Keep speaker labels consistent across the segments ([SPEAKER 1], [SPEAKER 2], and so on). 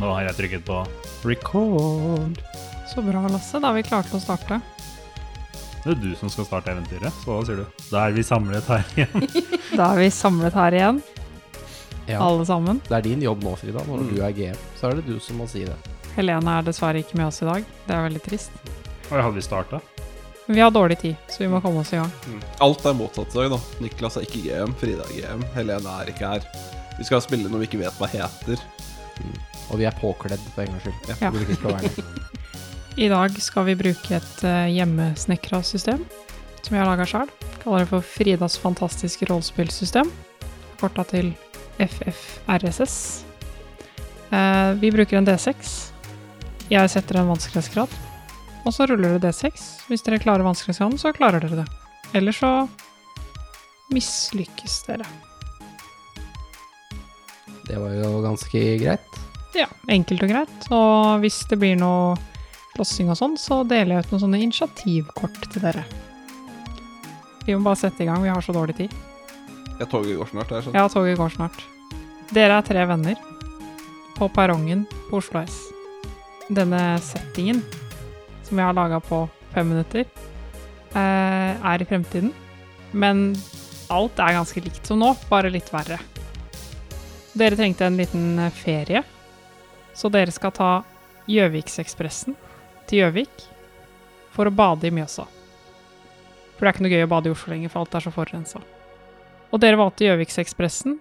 [SPEAKER 1] Nå har jeg trykket på record.
[SPEAKER 2] Så bra, Lasse. Da har vi klart å starte.
[SPEAKER 1] Det er du som skal starte eventyret, så hva sier du? Da er vi samlet her igjen.
[SPEAKER 2] Da er vi samlet her igjen,
[SPEAKER 3] Ja.
[SPEAKER 2] alle sammen.
[SPEAKER 3] Det er din jobb nå, Frida. Når du er GM, så er det du som må si det.
[SPEAKER 2] Helene er dessverre ikke med oss i dag. Det er veldig trist.
[SPEAKER 1] Oi, hadde vi starta?
[SPEAKER 2] Men vi har dårlig tid, så vi må komme oss i gang.
[SPEAKER 4] Alt er motsatt i dag, da. Niklas er ikke GM, Frida er GM, Helene er ikke her. Vi skal spille noe vi ikke vet hva heter.
[SPEAKER 3] Og vi er påkledd, for en gangs skyld.
[SPEAKER 2] Ja.
[SPEAKER 3] Vi vil ikke skal være det.
[SPEAKER 2] I dag skal vi bruke et eh, hjemmesnekra system som jeg har laga sjøl. Kaller det for Fridas fantastiske rollespillsystem. Korta til FFRSS. Eh, Vi bruker en D6. Jeg setter en vanskelighetsgrad. Og så ruller det D6. Hvis dere klarer vanskelighetsgraden, så klarer dere det. Eller så mislykkes dere.
[SPEAKER 3] det var jo ganske greit.
[SPEAKER 2] Ja, enkelt og greit. Og hvis det blir noe slåssing og sånn, så deler jeg ut noen sånne initiativkort til dere. Vi må bare sette i gang, vi har så dårlig tid.
[SPEAKER 4] Jeg toget går snart. Jeg,
[SPEAKER 2] Ja, toget går snart. Dere er tre venner på perrongen på Oslo S. Denne settingen som jeg har laga på fem minutter, eh, er i fremtiden. Men alt er ganske likt som nå, bare litt verre. Dere trengte en liten eh, ferie, så dere skal ta Gjøviksekspressen til Gjøvik for å bade i Mjøsa. For det er ikke noe gøy å bade i Oslo lenger, for alt er så forurensa. Og dere valgte Gjøviksekspressen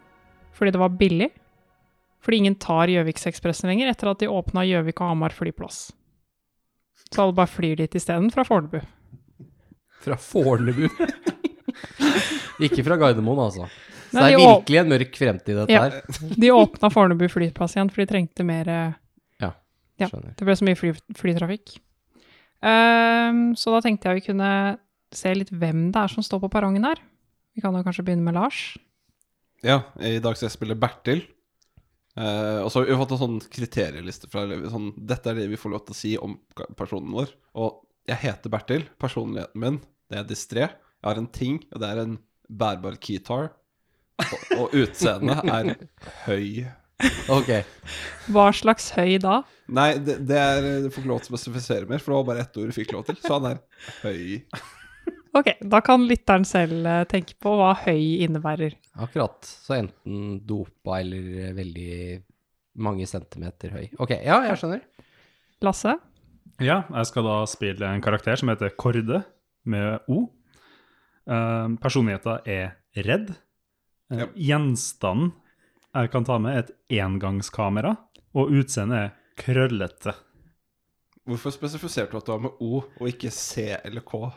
[SPEAKER 2] fordi det var billig. Fordi ingen tar Gjøviksekspressen lenger etter at de åpna Gjøvik og Hamar flyplass. Så alle bare flyr dit isteden, fra Fornebu.
[SPEAKER 3] Fra Fornebu. ikke fra Gardermoen, altså. Så
[SPEAKER 2] Nei,
[SPEAKER 3] det er
[SPEAKER 2] de åp-
[SPEAKER 3] virkelig en mørk fremtid, dette
[SPEAKER 2] Ja.
[SPEAKER 3] her.
[SPEAKER 2] De åpna Fornebu flyplass igjen, for de trengte mer eh, Ja.
[SPEAKER 3] Skjønner.
[SPEAKER 2] Det ble så mye fly, flytrafikk. Ehm, så da tenkte jeg vi kunne se litt hvem det er som står på perrongen her. Vi kan jo kanskje begynne med Lars.
[SPEAKER 4] ja, I dag skal jeg spille Bertil. Eh, og så har vi fått en sånn kriterieliste fra elever. Sånn, dette er det vi får lov til å si om ka- personen vår. Og jeg heter Bertil. Personligheten min, det er distré. Jeg har en ting, og det er en bærbar keytar. Og, og utseendet er høy.
[SPEAKER 3] Ok.
[SPEAKER 2] Hva slags høy da?
[SPEAKER 4] Nei, det, det er, du får ikke lov til å spesifisere mer, for det var bare ett ord du fikk lov til. Så han er høy.
[SPEAKER 2] Ok, da kan lytteren selv eh, tenke på hva høy innebærer.
[SPEAKER 3] Akkurat. Så enten dopa eller eh, veldig mange centimeter høy. Ok, ja, jeg skjønner.
[SPEAKER 2] Lasse?
[SPEAKER 1] Ja, jeg skal da spille en karakter som heter Korde, med O. Um, Personligheten er redd. Eh,
[SPEAKER 4] Ja.
[SPEAKER 1] Gjenstanden jeg kan ta med, er et engangskamera. Og utseendet er krøllete.
[SPEAKER 4] Hvorfor spesifiserte du at det var med O og ikke C eller K?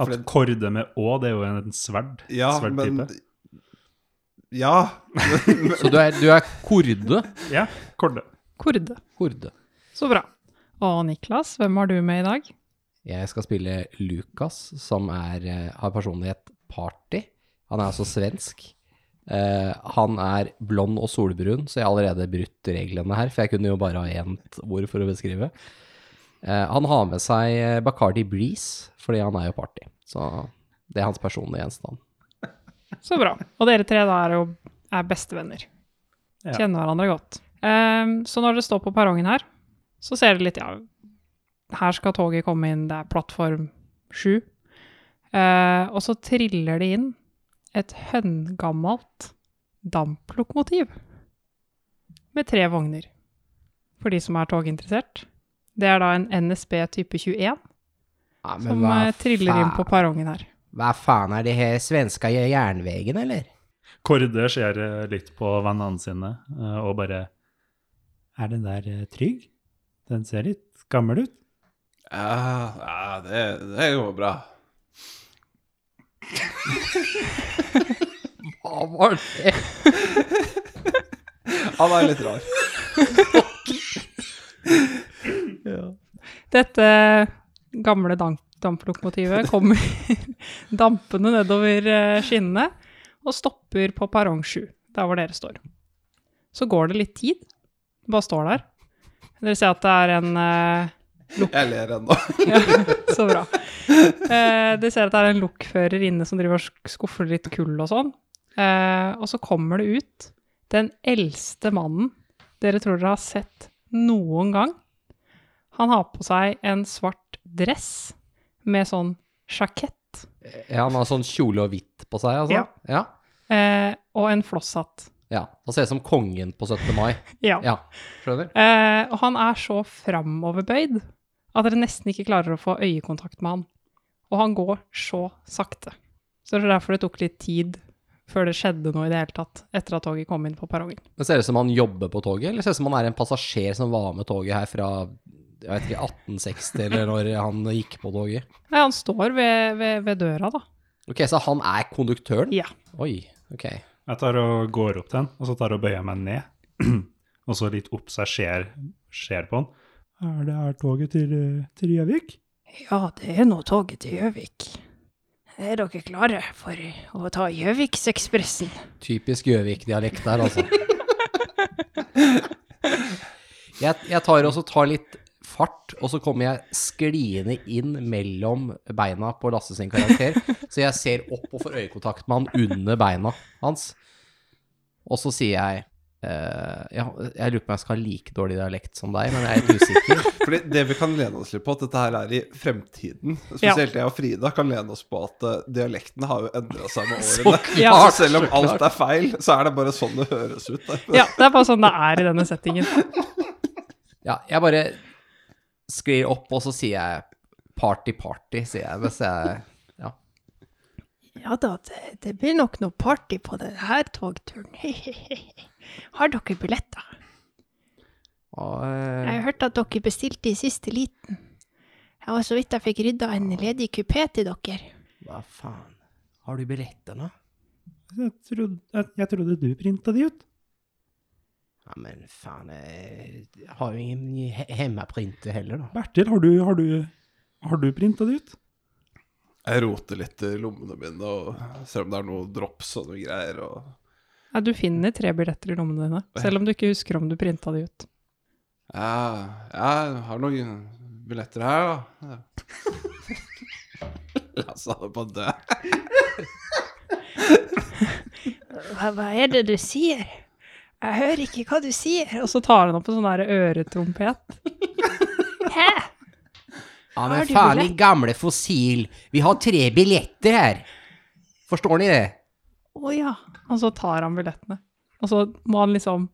[SPEAKER 1] At
[SPEAKER 4] For det-
[SPEAKER 1] Korde med Å, det er jo en, en sverd.
[SPEAKER 4] Ja,
[SPEAKER 1] sverdtype.
[SPEAKER 4] men Ja. men-
[SPEAKER 3] Så du er, du er korde?
[SPEAKER 1] Ja, Korde.
[SPEAKER 2] Korde.
[SPEAKER 3] Korde.
[SPEAKER 2] Så bra. Og Niklas, hvem har du med i dag?
[SPEAKER 3] Jeg skal spille Lukas, som er, eh, har personlighet party. Han er altså svensk. Eh, han er blond og solbrun, så jeg har allerede brutt reglene her, for jeg kunne jo bare ha ett ord for å beskrive. Eh, han har med seg eh, Bacardi Breeze, fordi han er jo party. Så det er hans personlige gjenstand.
[SPEAKER 2] Så bra. Og dere tre da er jo er bestevenner.
[SPEAKER 1] Ja.
[SPEAKER 2] Kjenner hverandre godt. Ehm, så når dere står på perrongen her, så ser dere litt ja, her skal toget komme inn, det er plattform sju. Eh, og så triller det inn et høngammelt damplokomotiv med tre vogner. For de som er toginteressert. Det er da en NSB type 21
[SPEAKER 3] Nei, men
[SPEAKER 2] som
[SPEAKER 3] hva
[SPEAKER 2] eh, triller inn på
[SPEAKER 3] faen-
[SPEAKER 2] perrongen her.
[SPEAKER 3] Hva faen er det her svenska jernvegen, eller?
[SPEAKER 1] Kårde ser eh, litt på vennene sine eh, og bare Er den der eh, trygg? Den ser litt gammel ut.
[SPEAKER 4] ja, ja det, det går bra.
[SPEAKER 3] Hva var det?
[SPEAKER 4] Han er litt rar.
[SPEAKER 2] Dette gamle damp damplokomotivet kommer dampende nedover eh, skinnene og stopper på perrong 7, der hvor dere står. Så går det litt tid. Det bare står der. Dere ser at det er en eh,
[SPEAKER 4] Jeg ler ennå.
[SPEAKER 2] ja, Så bra. Eh, dere ser at det er en lokfører inne som driver og sk- skuffer litt kull og sånn. Eh, og så kommer det ut den eldste mannen dere tror dere har sett noen gang. Han har på seg en svart dress med sånn sjakett
[SPEAKER 3] Ja, han har sånn kjole og hvitt på seg,
[SPEAKER 2] Ja.
[SPEAKER 3] altså. Ja.
[SPEAKER 2] eh, og en flosshatt.
[SPEAKER 3] ja. Han ser ut som kongen på 17. mai.
[SPEAKER 2] Ja.
[SPEAKER 3] Ja, skjønner.
[SPEAKER 2] Eh, og han er så framoverbøyd at dere nesten ikke klarer å få øyekontakt med han. Og han går så sakte. Så det er derfor det tok litt tid før det skjedde noe i det hele tatt, etter at toget kom inn på perrongen.
[SPEAKER 3] Det ser ut som han jobber på toget, eller ser det ut som han er en passasjer som var med toget her fra jeg vet ikke, 1860, eller når han gikk på toget.
[SPEAKER 2] Nei, han står ved, ved, ved døra, da.
[SPEAKER 3] Ok, så han er konduktøren?
[SPEAKER 2] Ja.
[SPEAKER 3] Oi, ok.
[SPEAKER 1] Jeg tar og går opp til han, og så tar og bøyer jeg meg ned. og så litt opp, så jeg ser, ser på han. Er det her toget til, eh, til Gjøvik?
[SPEAKER 5] Ja, det er nå toget til Gjøvik. Er dere klare for å ta Gjøviksekspressen?
[SPEAKER 3] Typisk Gjøvik-dialekt der, altså. Jeg, jeg tar også tar litt fart, og så kommer jeg skliende inn mellom beina på Lasse sin karakter. Så jeg ser opp og får øyekontakt med han under beina hans. Og så sier jeg eh, ja, Jeg lurer på om jeg skal ha like dårlig dialekt som deg, men jeg er litt usikker.
[SPEAKER 4] Fordi det vi kan lene oss litt på, at dette her er i fremtiden. Spesielt jeg og Frida kan lene oss på at eh, dialekten har jo endra seg med årene.
[SPEAKER 2] Ja.
[SPEAKER 4] Så selv om alt er feil, så er det bare sånn det høres ut. da.
[SPEAKER 2] Ja, det er bare sånn det er i denne settingen.
[SPEAKER 3] Ja, jeg bare sklir opp, og så sier jeg party, party, sier jeg. Mens jeg ja.
[SPEAKER 5] Ja da, det, det blir nok noe party på denne togturen. Har dere billetter?
[SPEAKER 3] Og, eh,
[SPEAKER 5] Jeg har hørt at dere bestilte i siste liten. Ja, og så vidt jeg fikk rydda en ledig kupé til dere.
[SPEAKER 3] Hva faen? Har du billettene?
[SPEAKER 1] Jeg trodde, jeg, jeg trodde du printa de ut.
[SPEAKER 3] Ja, men faen, jeg har jo ingen he- hjemmeprinte heller, da.
[SPEAKER 1] Bertil, har du, har du, har du printa de ut?
[SPEAKER 4] Jeg roter litt i lommene mine og ser om det er noe drops og noe greier. Og...
[SPEAKER 2] Nei, du finner tre billetter i lommene dine, selv om du ikke husker om du printa de ut.
[SPEAKER 4] Ja, jeg har noen billetter her, da. La oss ha det på det.
[SPEAKER 5] Hva, hva er det du sier? Jeg hører ikke hva du sier.
[SPEAKER 2] Og så tar han opp en sånn der øretrompet.
[SPEAKER 5] Hæ?
[SPEAKER 3] Ja,
[SPEAKER 5] Har
[SPEAKER 3] men
[SPEAKER 5] du
[SPEAKER 3] faen,
[SPEAKER 5] billett?
[SPEAKER 3] din gamle fossil. Vi har tre billetter her. Forstår ni det?
[SPEAKER 5] Å ja.
[SPEAKER 2] Og så tar han billettene. Og så må han liksom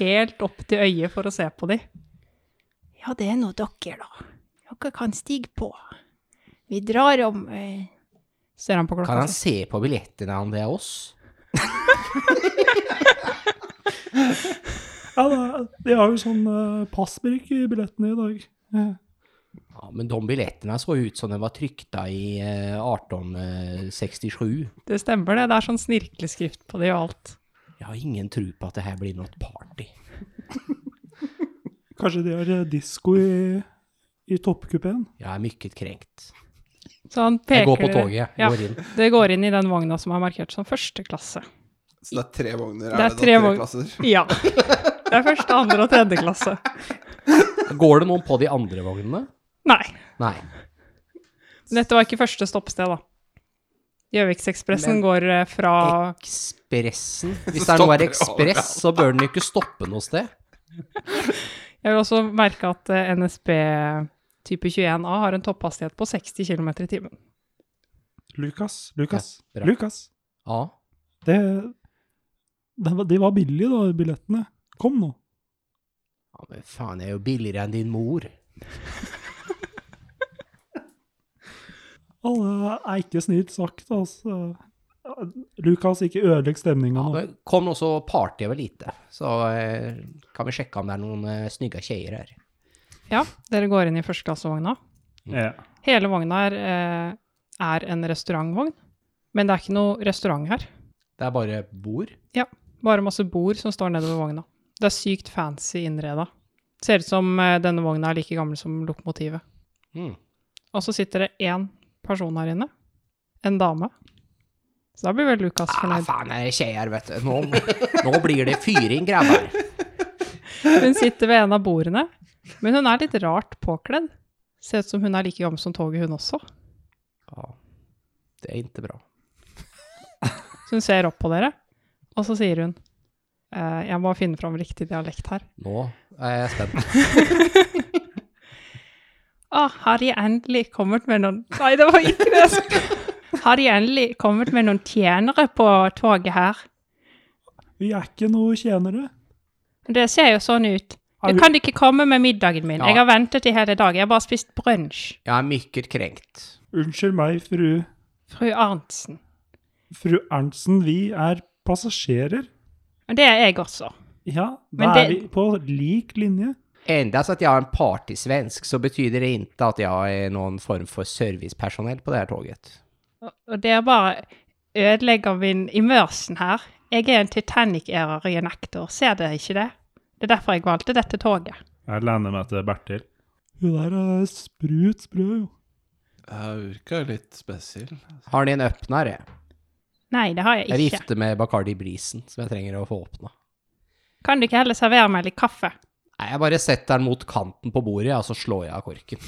[SPEAKER 2] helt opp til øyet for å se på de.
[SPEAKER 5] Ja, det er nå dere, da. Dere kan stige på. Vi drar om eh,
[SPEAKER 2] Ser han på klokka.
[SPEAKER 3] Kan han
[SPEAKER 2] si.
[SPEAKER 3] se på billettene om det er oss?
[SPEAKER 1] Ja, da, de har jo sånn uh, passbrikk i billettene i dag. Eh,
[SPEAKER 3] Ja, men de billettene så ut som de var trykta i eh, 1867.
[SPEAKER 2] Det stemmer det. Det er sånn snirkleskrift på de og alt.
[SPEAKER 3] Jeg har ingen tro på at det her blir noe party.
[SPEAKER 1] Kanskje de har uh, disko i, i toppkupeen?
[SPEAKER 3] Jeg er mykket krenkt.
[SPEAKER 2] Så han peker
[SPEAKER 3] Jeg går på toget,
[SPEAKER 2] Ja,
[SPEAKER 3] jeg går inn.
[SPEAKER 2] det går inn i den vogna som er markert som første klasse.
[SPEAKER 4] Så det er tre vogner?
[SPEAKER 2] Det er
[SPEAKER 4] Er det,
[SPEAKER 2] tre
[SPEAKER 4] da
[SPEAKER 2] vogn-
[SPEAKER 4] tre klasser?
[SPEAKER 2] Ja. Det er første, andre og tredje klasse.
[SPEAKER 3] Går det noen på de andre vognene?
[SPEAKER 2] Nei.
[SPEAKER 3] Nei.
[SPEAKER 2] Dette var ikke første stoppsted, da. Gjøviksekspressen
[SPEAKER 3] Men-
[SPEAKER 2] går eh, fra
[SPEAKER 3] Ekspressen? Hvis det
[SPEAKER 4] Så
[SPEAKER 3] er noe
[SPEAKER 4] stopper
[SPEAKER 3] er
[SPEAKER 4] det
[SPEAKER 3] ekspress, så bør den jo ikke stoppe noe sted.
[SPEAKER 2] Jeg vil også merke at eh, NSB type 21A har en topphastighet på 60 km i timen.
[SPEAKER 1] Lukas, Lukas,
[SPEAKER 3] Ja, bra.
[SPEAKER 1] Lukas.
[SPEAKER 3] Ja.
[SPEAKER 1] Det, det, var- de var billige, da, billettene. Kom nå.
[SPEAKER 3] ja men faen, jeg er jo billigere enn din mor.
[SPEAKER 1] Alle er ikke snilt sagt, altså. Lukas, ikke ødelegg stemninga
[SPEAKER 3] Ja,
[SPEAKER 1] nå.
[SPEAKER 3] men kom nå så party over lite, så eh, kan vi sjekke om det er noen eh, snygge tjejer her.
[SPEAKER 2] Ja, dere går inn i førsteklassevogna.
[SPEAKER 1] Ja.
[SPEAKER 2] Hele vogna er, eh, er en restaurantvogn, men det er ikke noe restaurant her.
[SPEAKER 3] Det er bare bord.
[SPEAKER 2] Bare masse bord som står nedover vogna. Det er sykt fancy innreda. Ser ut som eh, denne vogna er like gammel som lokomotivet.
[SPEAKER 3] Mm.
[SPEAKER 2] Og så sitter det én person her inne. En dame. Så da blir vel Lukas
[SPEAKER 3] Ah,
[SPEAKER 2] fornøyd.
[SPEAKER 3] faen, det er tjejer, vet du. Nå, nå blir det fyring, grabber.
[SPEAKER 2] Hun sitter ved en av bordene, men hun er litt rart påkledd. Ser ut som hun er like gammel som toget, hun også.
[SPEAKER 3] Ja, det er ikke bra.
[SPEAKER 2] Så hun ser opp på dere, og så sier hun Eh, jeg må finne fram riktig dialekt her.
[SPEAKER 3] Nå er jeg spent.
[SPEAKER 2] Å, har de endelig kommet med noen Nei, det var ikke det jeg skulle Har de endelig kommet med noen tjenere på toget her?
[SPEAKER 6] Vi er ikke noe tjenere.
[SPEAKER 2] Det ser jo sånn ut.
[SPEAKER 6] Har
[SPEAKER 2] Du
[SPEAKER 6] du-
[SPEAKER 2] kan ikke komme med middagen min.
[SPEAKER 3] Ja.
[SPEAKER 2] Jeg har ventet i hele dag. Jeg har bare spist brunsj.
[SPEAKER 3] Jeg er mycket krenkt.
[SPEAKER 6] Unnskyld meg, fru,
[SPEAKER 2] Fru Arntzen.
[SPEAKER 6] fru Ernstsen, vi er passasjerer.
[SPEAKER 2] Og det er jeg også.
[SPEAKER 6] Ja, da
[SPEAKER 2] Men
[SPEAKER 6] er
[SPEAKER 2] det-
[SPEAKER 6] vi på lik linje.
[SPEAKER 3] Endast at jeg er en partysvensk, så betyder det ikke at jeg er noen form for servicepersonell på det her toget.
[SPEAKER 2] Og- Og dere bare ødelegger min immersion her. Jeg er en Titanic-ærer i en actor. Ser dere ikke det? Det er derfor jeg valgte dette toget.
[SPEAKER 6] Jeg lener meg til Bertil. Hun der er sprut sprø, jo.
[SPEAKER 4] Jeg virker litt spesiell.
[SPEAKER 3] Har ni en øppner? jeg?
[SPEAKER 2] Nei, det har jeg
[SPEAKER 3] Jeg er
[SPEAKER 2] ikke.
[SPEAKER 3] gifte med Bacardi Brisen, som jeg trenger å få åpna.
[SPEAKER 2] Kan du ikke heller servere meg litt kaffe?
[SPEAKER 3] Nei, jeg bare setter den mot kanten på bordet, og så slår jeg av korken.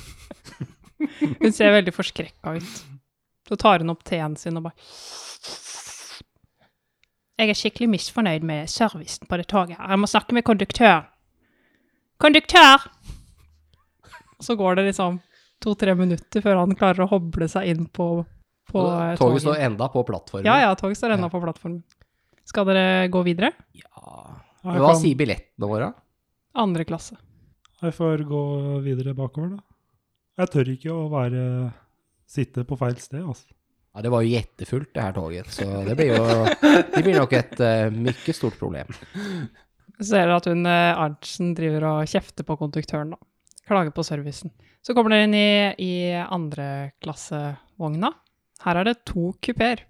[SPEAKER 2] Hun ser veldig forskrekka ut. Så tar hun opp teen sin og bare Jeg er skikkelig misfornøyd med servicen på det toget her. Jeg må snakke med konduktøren. Konduktør! Og så går det liksom to-tre minutter før han klarer å hoble seg inn på, på eh,
[SPEAKER 3] Toget står enda på plattformen.
[SPEAKER 2] Ja, ja, toget står ennå på plattformen. Skal dere gå videre?
[SPEAKER 3] Ja.
[SPEAKER 6] Jeg,
[SPEAKER 3] Hva
[SPEAKER 6] kan,
[SPEAKER 3] sier billettene våre?
[SPEAKER 2] Andre klasse.
[SPEAKER 6] jeg får gå videre bakover, da. Jeg tør ikke å være Sitte på feil sted, altså.
[SPEAKER 3] Ja, det var jo jettefullt, det her toget, så det blir jo Det blir nok et uh, mye stort problem.
[SPEAKER 2] Så ser dere at hun eh, Arntzen driver og kjefter på konduktøren, da. Klager på servicen. Så kommer dere inn i, i andreklassevogna. Her er det to kupeer.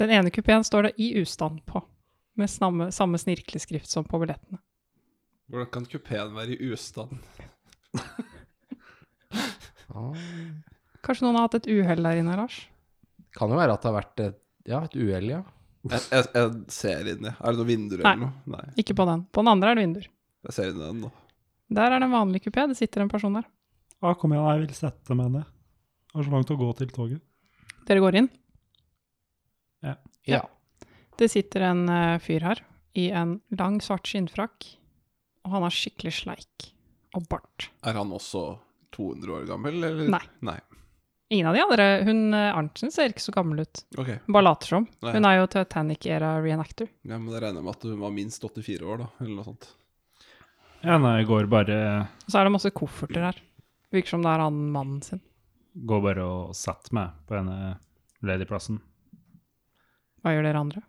[SPEAKER 2] Den ene kupeen står det 'i ustand' på, med samme, samme snirkleskrift som på billettene.
[SPEAKER 4] Hvordan kan kupeen være i ustand?
[SPEAKER 3] Ja.
[SPEAKER 2] Kanskje noen har hatt et uhell der inne, Lars?
[SPEAKER 3] Kan jo være at det har vært et, ja, et uhell, ja.
[SPEAKER 4] Jeg, jeg, jeg ser inn i Er det noen vinduer
[SPEAKER 2] Nei.
[SPEAKER 4] eller noe? Nei.
[SPEAKER 2] Ikke på den. På den andre er det vinduer.
[SPEAKER 4] Jeg ser inn i den nå.
[SPEAKER 2] Der er det en vanlig kupé. Det sitter en person der.
[SPEAKER 6] Ja, kom igjen, jeg vil sette meg ned. Det er så langt å gå til toget.
[SPEAKER 2] Dere går inn.
[SPEAKER 3] Ja.
[SPEAKER 2] Det sitter en eh, fyr her i en lang, svart skinnfrakk, og han har skikkelig sleik og bart.
[SPEAKER 4] Er han også 200 år gammel, eller?
[SPEAKER 2] Nei. Ingen av de andre. Hun eh, Arntzen ser ikke så gammel ut.
[SPEAKER 4] Ok.
[SPEAKER 2] Hun bare later som.
[SPEAKER 4] Nei.
[SPEAKER 2] Hun er jo Titanic-era reenactor.
[SPEAKER 4] Ja, men da regner jeg med at hun var minst 84 år, da, eller noe sånt.
[SPEAKER 6] Ja, nei, jeg går bare,
[SPEAKER 2] Og så er det masse kofferter her. Virker som det er han mannen sin.
[SPEAKER 6] går bare og setter meg på denne ladyplassen.
[SPEAKER 2] Hva gjør dere andre?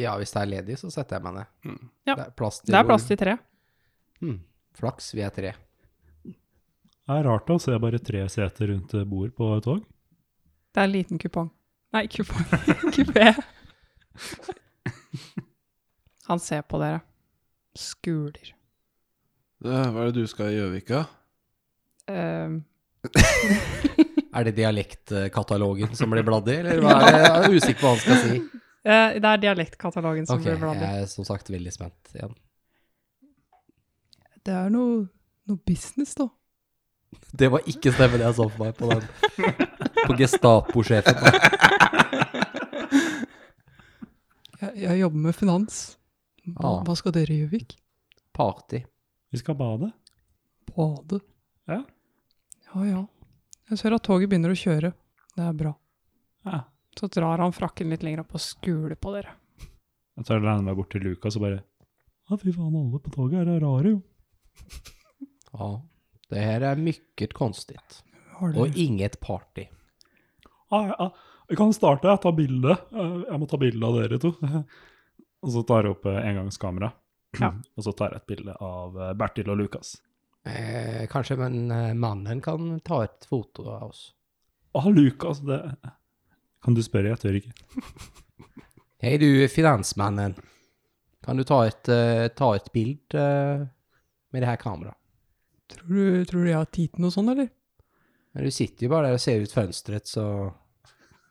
[SPEAKER 3] ja, hvis det er ledig, så setter jeg meg ned.
[SPEAKER 4] Mm.
[SPEAKER 2] Ja.
[SPEAKER 3] Det er plass til
[SPEAKER 2] Det er plass til tre.
[SPEAKER 3] Hmm. Flaks, vi er tre.
[SPEAKER 6] Det er rart å se bare tre seter rundt eh, bord på et tog.
[SPEAKER 2] Det er en liten kupong. Nei, kupong. Kupé. Han ser på dere. Skuler.
[SPEAKER 4] Du, Eh, hva er det du skal i Gjøvika?
[SPEAKER 2] Ehm,
[SPEAKER 3] Er det dialektkatalogen som blir bladd i, eller hva er det? Jeg er usikker på hva han skal si.
[SPEAKER 2] eh, det er dialektkatalogen som
[SPEAKER 3] Ok,
[SPEAKER 2] blir bladd i.
[SPEAKER 3] jeg er som sagt veldig spent igjen.
[SPEAKER 2] Det er noe, noe business, da.
[SPEAKER 3] Det var ikke stemmen jeg så for meg på den. På Gestapo-sjefen.
[SPEAKER 2] Jeg, jeg jobber med finans.
[SPEAKER 3] Ah.
[SPEAKER 2] skal dere i Gjøvik?
[SPEAKER 3] Party.
[SPEAKER 6] Vi skal bade.
[SPEAKER 2] Bade.
[SPEAKER 6] Ja.
[SPEAKER 2] Ja, ja. Jeg ser at toget begynner å kjøre. Det er bra.
[SPEAKER 6] Ja.
[SPEAKER 2] Så drar han frakken litt lenger opp og skuler på dere.
[SPEAKER 6] Jeg tar og lener meg bort til Lukas og bare Ja, fy faen, alle på toget her er rare, jo.
[SPEAKER 3] Ja. Det her er mycket konstigt.
[SPEAKER 2] Har
[SPEAKER 3] Og inget party.
[SPEAKER 6] Ja, Ah, ja, ja. Jeg kan starte, jeg tar bilde. Eh, Jeg må ta bilde av dere to. Og så tar jeg opp eh, engangskamera.
[SPEAKER 2] Ja.
[SPEAKER 6] Og så tar jeg et bilde av eh, Bertil og Lukas.
[SPEAKER 3] Eh, kanskje men eh, mannen kan ta et foto av oss.
[SPEAKER 6] Å, Ah, Lukas, det Kan du spørre? Jeg tør ikke.
[SPEAKER 3] Hei du, finansmannen. Kan du ta et, eh, ta et bild eh, med det her kameraet?
[SPEAKER 2] Tror, du, tror du jeg har tid til noe sånt, eller?
[SPEAKER 3] Men du sitter jo bare der og ser ut fønstret, så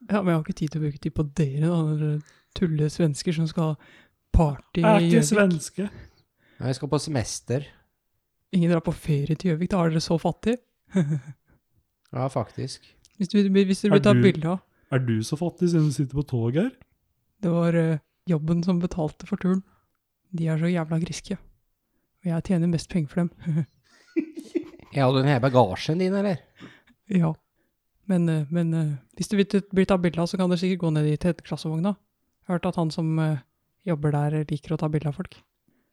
[SPEAKER 2] Ja, men jeg har ikke tid til å bruke tid på dere, da. Dere tulle svensker som skal ha party
[SPEAKER 6] Jeg er
[SPEAKER 2] i
[SPEAKER 6] ikke
[SPEAKER 2] Gjøvik.
[SPEAKER 6] svenske.
[SPEAKER 3] Ja, Jeg skal på semester.
[SPEAKER 2] Ingen drar på ferie til Gjøvik, da er dere så fattige.
[SPEAKER 3] Ja, faktisk.
[SPEAKER 2] Hvis, du, hvis dere
[SPEAKER 6] Er
[SPEAKER 2] vil ta
[SPEAKER 6] du-
[SPEAKER 2] bilde av
[SPEAKER 6] Er du så fattig siden du sitter på toget her?
[SPEAKER 2] Det var eh, jobben som betalte for turen.
[SPEAKER 7] De er så jævla griske. Og jeg tjener mest penger for dem.
[SPEAKER 3] Jeg hadde den hele bagasjen din, eller?
[SPEAKER 7] ja. Men, eh, men eh, hvis du vil t- bli tatt bilde av, så kan dere sikkert gå ned i tredjeklassevogna. Jeg har hørt at han som eh, jobber der, liker å ta bilde av folk.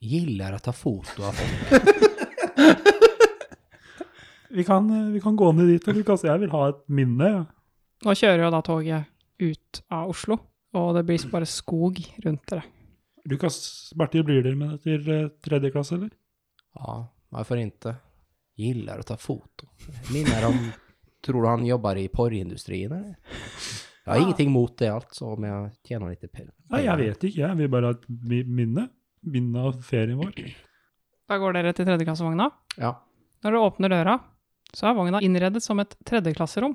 [SPEAKER 3] Gillar å ta foto av folk.
[SPEAKER 6] Vi kan, eh, vi kan gå ned dit, Lukas. Jeg vil ha et minne. Ja.
[SPEAKER 2] Nå kjører jo da toget ut av Oslo, og det blir bare skog rundt dere.
[SPEAKER 6] Lukas Bertil, blir dere med til eh, tredje klasse, eller?
[SPEAKER 3] Ja, hvorfor ikke? Gillar å ta foto. Minner om Tror du han jobber i porrindustrien, eller? Jeg har ingenting mot det, altså, om jeg tjener litt penger.
[SPEAKER 6] Nei, jeg vet ikke. Jeg vil bare ha et mi- minne. Minne av ferien vår.
[SPEAKER 2] Da går dere til tredjeklassevogna.
[SPEAKER 3] Ja.
[SPEAKER 2] Når du åpner døra, så er vogna innredet som et tredjeklasserom.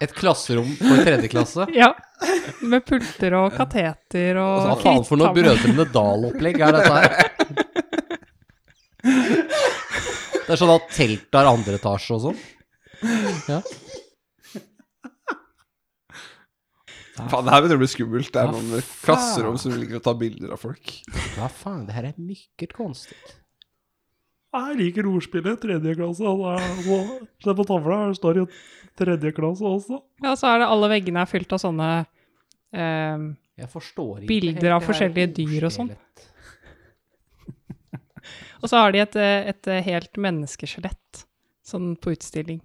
[SPEAKER 3] Et klasserom for tredje klasse?
[SPEAKER 2] Ja. Med pulter og kateter
[SPEAKER 3] Hva
[SPEAKER 2] og
[SPEAKER 3] faen for noe
[SPEAKER 2] krittabler.
[SPEAKER 3] Brødrene Dal-opplegg er dette her? Det er sånn at telt er andre etasje og sånn. Ja.
[SPEAKER 4] Faen, det her begynner å bli skummelt. Det er
[SPEAKER 3] Hva
[SPEAKER 4] noen
[SPEAKER 3] faen?
[SPEAKER 4] klasserom som liker å ta bilder av folk.
[SPEAKER 3] Hva faen, det her er mycket konstigt.
[SPEAKER 6] Jeg liker ordspillet tredje klasse. og da er- og Se på tavla, her står jo tredje klasse også.
[SPEAKER 2] Ja, så er det alle veggene er fylt av sånne eh,
[SPEAKER 3] Jeg forstår ikke
[SPEAKER 2] Bilder
[SPEAKER 3] helt
[SPEAKER 2] av
[SPEAKER 3] det her
[SPEAKER 2] forskjellige dyr og sånn.
[SPEAKER 3] ordspelet.
[SPEAKER 2] Og så har de et, eh, et eh, helt menneskeskjelett sånn på utstilling.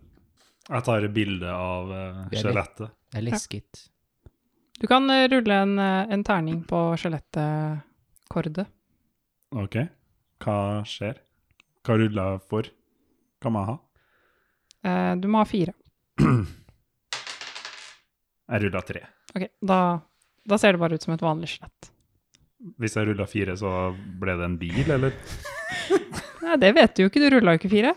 [SPEAKER 6] Jeg tar et bilde av eh,
[SPEAKER 3] Det er
[SPEAKER 6] skjelettet.
[SPEAKER 3] Det er lesket.
[SPEAKER 2] Du kan eh, rulle en, eh, en terning på skjelettet, Kårde.
[SPEAKER 6] OK. Hva skjer? Hva ruller jeg for? Hva må jeg ha?
[SPEAKER 2] Eh, du må ha fire.
[SPEAKER 6] Jeg ruller tre.
[SPEAKER 2] Ok, da, da ser det bare ut som et vanlig skjelett.
[SPEAKER 6] Hvis jeg ruller fire, så ble det en bil, eller?
[SPEAKER 2] Nei, det vet du jo ikke. Du rulla jo ikke fire.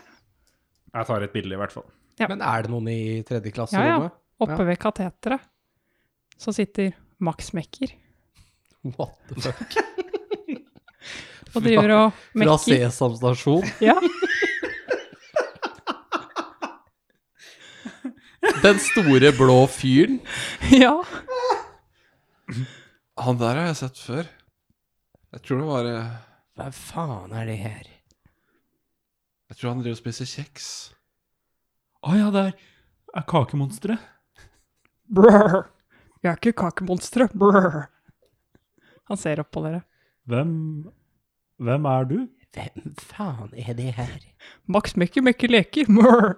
[SPEAKER 6] Jeg tar et bilde, i hvert fall.
[SPEAKER 3] Men er det noen i tredje
[SPEAKER 2] Ja, ja.
[SPEAKER 3] klasserommet?
[SPEAKER 2] Oppe ved kateteret så sitter Max Mekker
[SPEAKER 3] What the fuck?
[SPEAKER 2] og driver og
[SPEAKER 3] Fra
[SPEAKER 2] mekker.
[SPEAKER 3] Sesam stasjon?
[SPEAKER 2] Ja,
[SPEAKER 3] Den store blå fyren?
[SPEAKER 2] ja.
[SPEAKER 4] Han der har jeg sett før. Jeg tror det var eh,
[SPEAKER 3] Hva faen er det her?
[SPEAKER 4] Jeg tror han driver og spiser kjeks.
[SPEAKER 6] Å ja, det er- er kakemonsteret.
[SPEAKER 7] Brr. Jeg er ikke kakemonstre. Brr.
[SPEAKER 2] Han ser opp på dere.
[SPEAKER 6] Hvem Hvem er du?
[SPEAKER 3] Hvem faen er det her?
[SPEAKER 7] Max mekker mekker leker. Brr.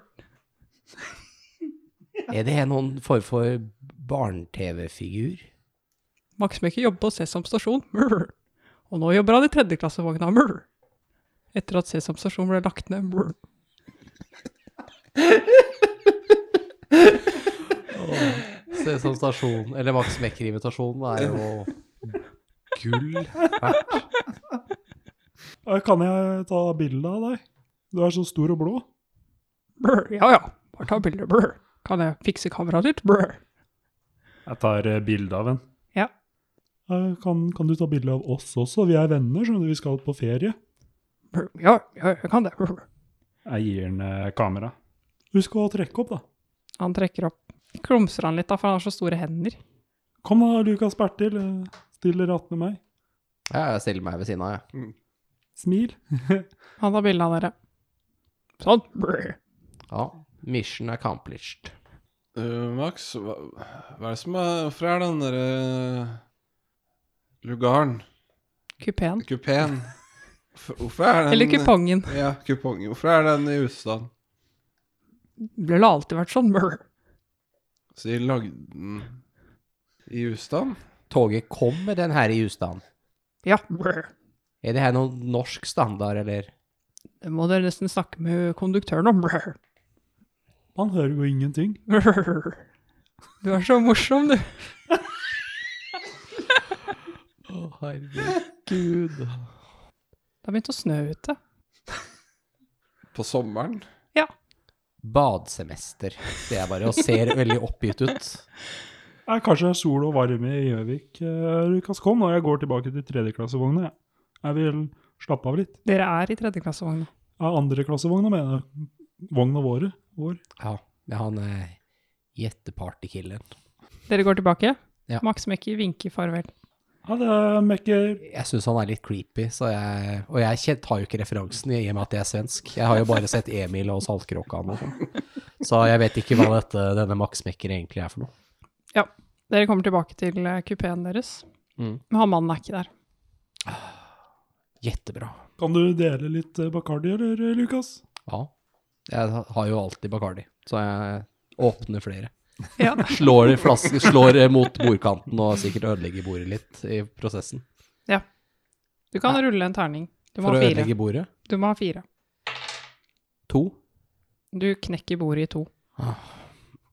[SPEAKER 3] Er det her noen form for barne-TV-figur?
[SPEAKER 7] Max Mekker jobber på Sesam stasjon. Brr. Og nå jobber han i tredjeklassevogna. Brr. Etter at Sesam stasjon ble lagt ned. Brr.
[SPEAKER 3] Sesam stasjon, eller Max Mekker-invitasjonen, er jo gull verdt.
[SPEAKER 6] Eh, Kan jeg ta bilde av deg? Du er så stor og blå.
[SPEAKER 7] Brr. Ja, ja. Bare ta bilder. Brr. Kan jeg fikse kameraet ditt? Brr.
[SPEAKER 6] Jeg tar eh, bilde av en.
[SPEAKER 2] Ja.
[SPEAKER 6] Eh, Kan, kan du ta bilde av oss også? Vi er venner, skjønner du. Vi skal på ferie.
[SPEAKER 7] Brr. Ja, ja, jeg kan det. Brr.
[SPEAKER 6] Jeg gir han eh, kamera. Husk å trekke opp, da.
[SPEAKER 2] Han trekker opp. Klumser han litt, da, for han har så store hender.
[SPEAKER 6] Kom da, Lukas Bertil. eh, Still rett med meg.
[SPEAKER 3] Ja, jeg stiller meg ved siden av, jeg.
[SPEAKER 6] Smil.
[SPEAKER 2] Han tar bilde av dere.
[SPEAKER 7] Sånn. Brr.
[SPEAKER 3] Ja, mission accomplished.
[SPEAKER 4] Eh, Max, hva, hva er det som er Hvorfor er den derre lugaren,
[SPEAKER 2] Kupeen.
[SPEAKER 4] kupeen Hvorfor- Hvorfor er den
[SPEAKER 2] Eller kupongen.
[SPEAKER 4] Ja, kupongen. Hvorfor er den i ustand?
[SPEAKER 7] Det har alltid vært sånn. Brr.
[SPEAKER 4] Så de lagde den i ustand?
[SPEAKER 3] Toget kom med den her i husstand.
[SPEAKER 7] Ja. Brr.
[SPEAKER 3] Er det her noen norsk standard, eller?
[SPEAKER 7] Det må dere nesten snakke med konduktøren om. Brr.
[SPEAKER 6] Han hører jo ingenting.
[SPEAKER 7] Brr. Du er så morsom, du.
[SPEAKER 3] Å, herregud.
[SPEAKER 2] Det har begynt å snø ute.
[SPEAKER 4] På sommeren?
[SPEAKER 3] Badsemester. Det er bare og ser veldig oppgitt ut.
[SPEAKER 6] Eh, Kanskje det er sol og varme i Gjøvik. Eh, Lukas, kom nå. Jeg går tilbake til tredjeklassevogna. Jeg. jeg vil slappe av litt.
[SPEAKER 2] Dere er i tredjeklassevogna.
[SPEAKER 6] Ja, andreklassevogna, mener jeg. Vogna våre. Vår.
[SPEAKER 3] Ja, men han er gjettepartykillen.
[SPEAKER 2] Dere går tilbake.
[SPEAKER 3] Ja.
[SPEAKER 2] Max Mekker vinker farvel.
[SPEAKER 1] Ha det, møkker.
[SPEAKER 3] Jeg syns han er litt creepy, så jeg, og jeg kjen- tar jo ikke referansen i og med at jeg er svensk. Jeg har jo bare sett Emil og Saltkråkan og sånn. Så jeg vet ikke hva dette, denne Max Mekker egentlig er for noe.
[SPEAKER 2] Dere kommer tilbake til eh, kupeen deres.
[SPEAKER 3] Mm.
[SPEAKER 2] Men han mannen er ikke der.
[SPEAKER 3] Jettebra.
[SPEAKER 1] Kan du dele litt eh, Bacardi, eller, eh, Lukas?
[SPEAKER 3] Ja. Jeg har jo alltid Bacardi, så jeg åpner flere.
[SPEAKER 2] Ja.
[SPEAKER 3] Slår, i flaske, slår eh, mot bordkanten og sikkert ødelegger bordet litt i prosessen.
[SPEAKER 2] Du kan rulle en terning. Du må
[SPEAKER 3] For å
[SPEAKER 2] ha fire.
[SPEAKER 3] ødelegge bordet.
[SPEAKER 2] Du må ha fire.
[SPEAKER 3] To.
[SPEAKER 2] Du knekker bordet i to.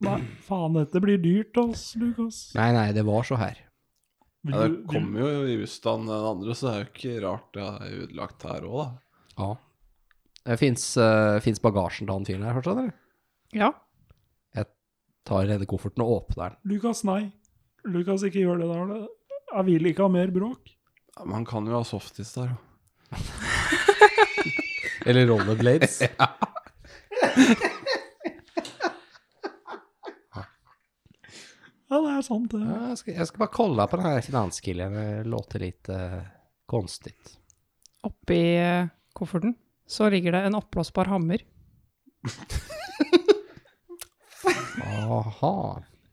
[SPEAKER 1] Nei, faen, dette blir dyrt, ass, Lukas.
[SPEAKER 3] Nei, nei, det var så her.
[SPEAKER 1] Vil
[SPEAKER 4] Ja,
[SPEAKER 1] du-
[SPEAKER 4] det
[SPEAKER 1] vil-
[SPEAKER 4] kommer jo i husstand den andre, så det er jo ikke rart det er ødelagt her òg, da.
[SPEAKER 3] Ja. Fins eh, bagasjen til han fyren her fortsatt, eller?
[SPEAKER 2] Ja.
[SPEAKER 3] Tar denne kofferten og åpner den.
[SPEAKER 1] Lukas, nei. Lukas, ikke gjør det der. det- Jeg vil ikke ha mer bråk.
[SPEAKER 4] Ja, Man kan jo ha softis der. da.
[SPEAKER 3] Eller rollerblades.
[SPEAKER 1] Ja, det er sant, det.
[SPEAKER 3] Ja, jeg, skal, jeg skal bare kolla på den her finanskillen. Det låter litt eh, konstig.
[SPEAKER 2] Oppi eh, kofferten så ligger det en oppblåsbar hammer.
[SPEAKER 3] Aha.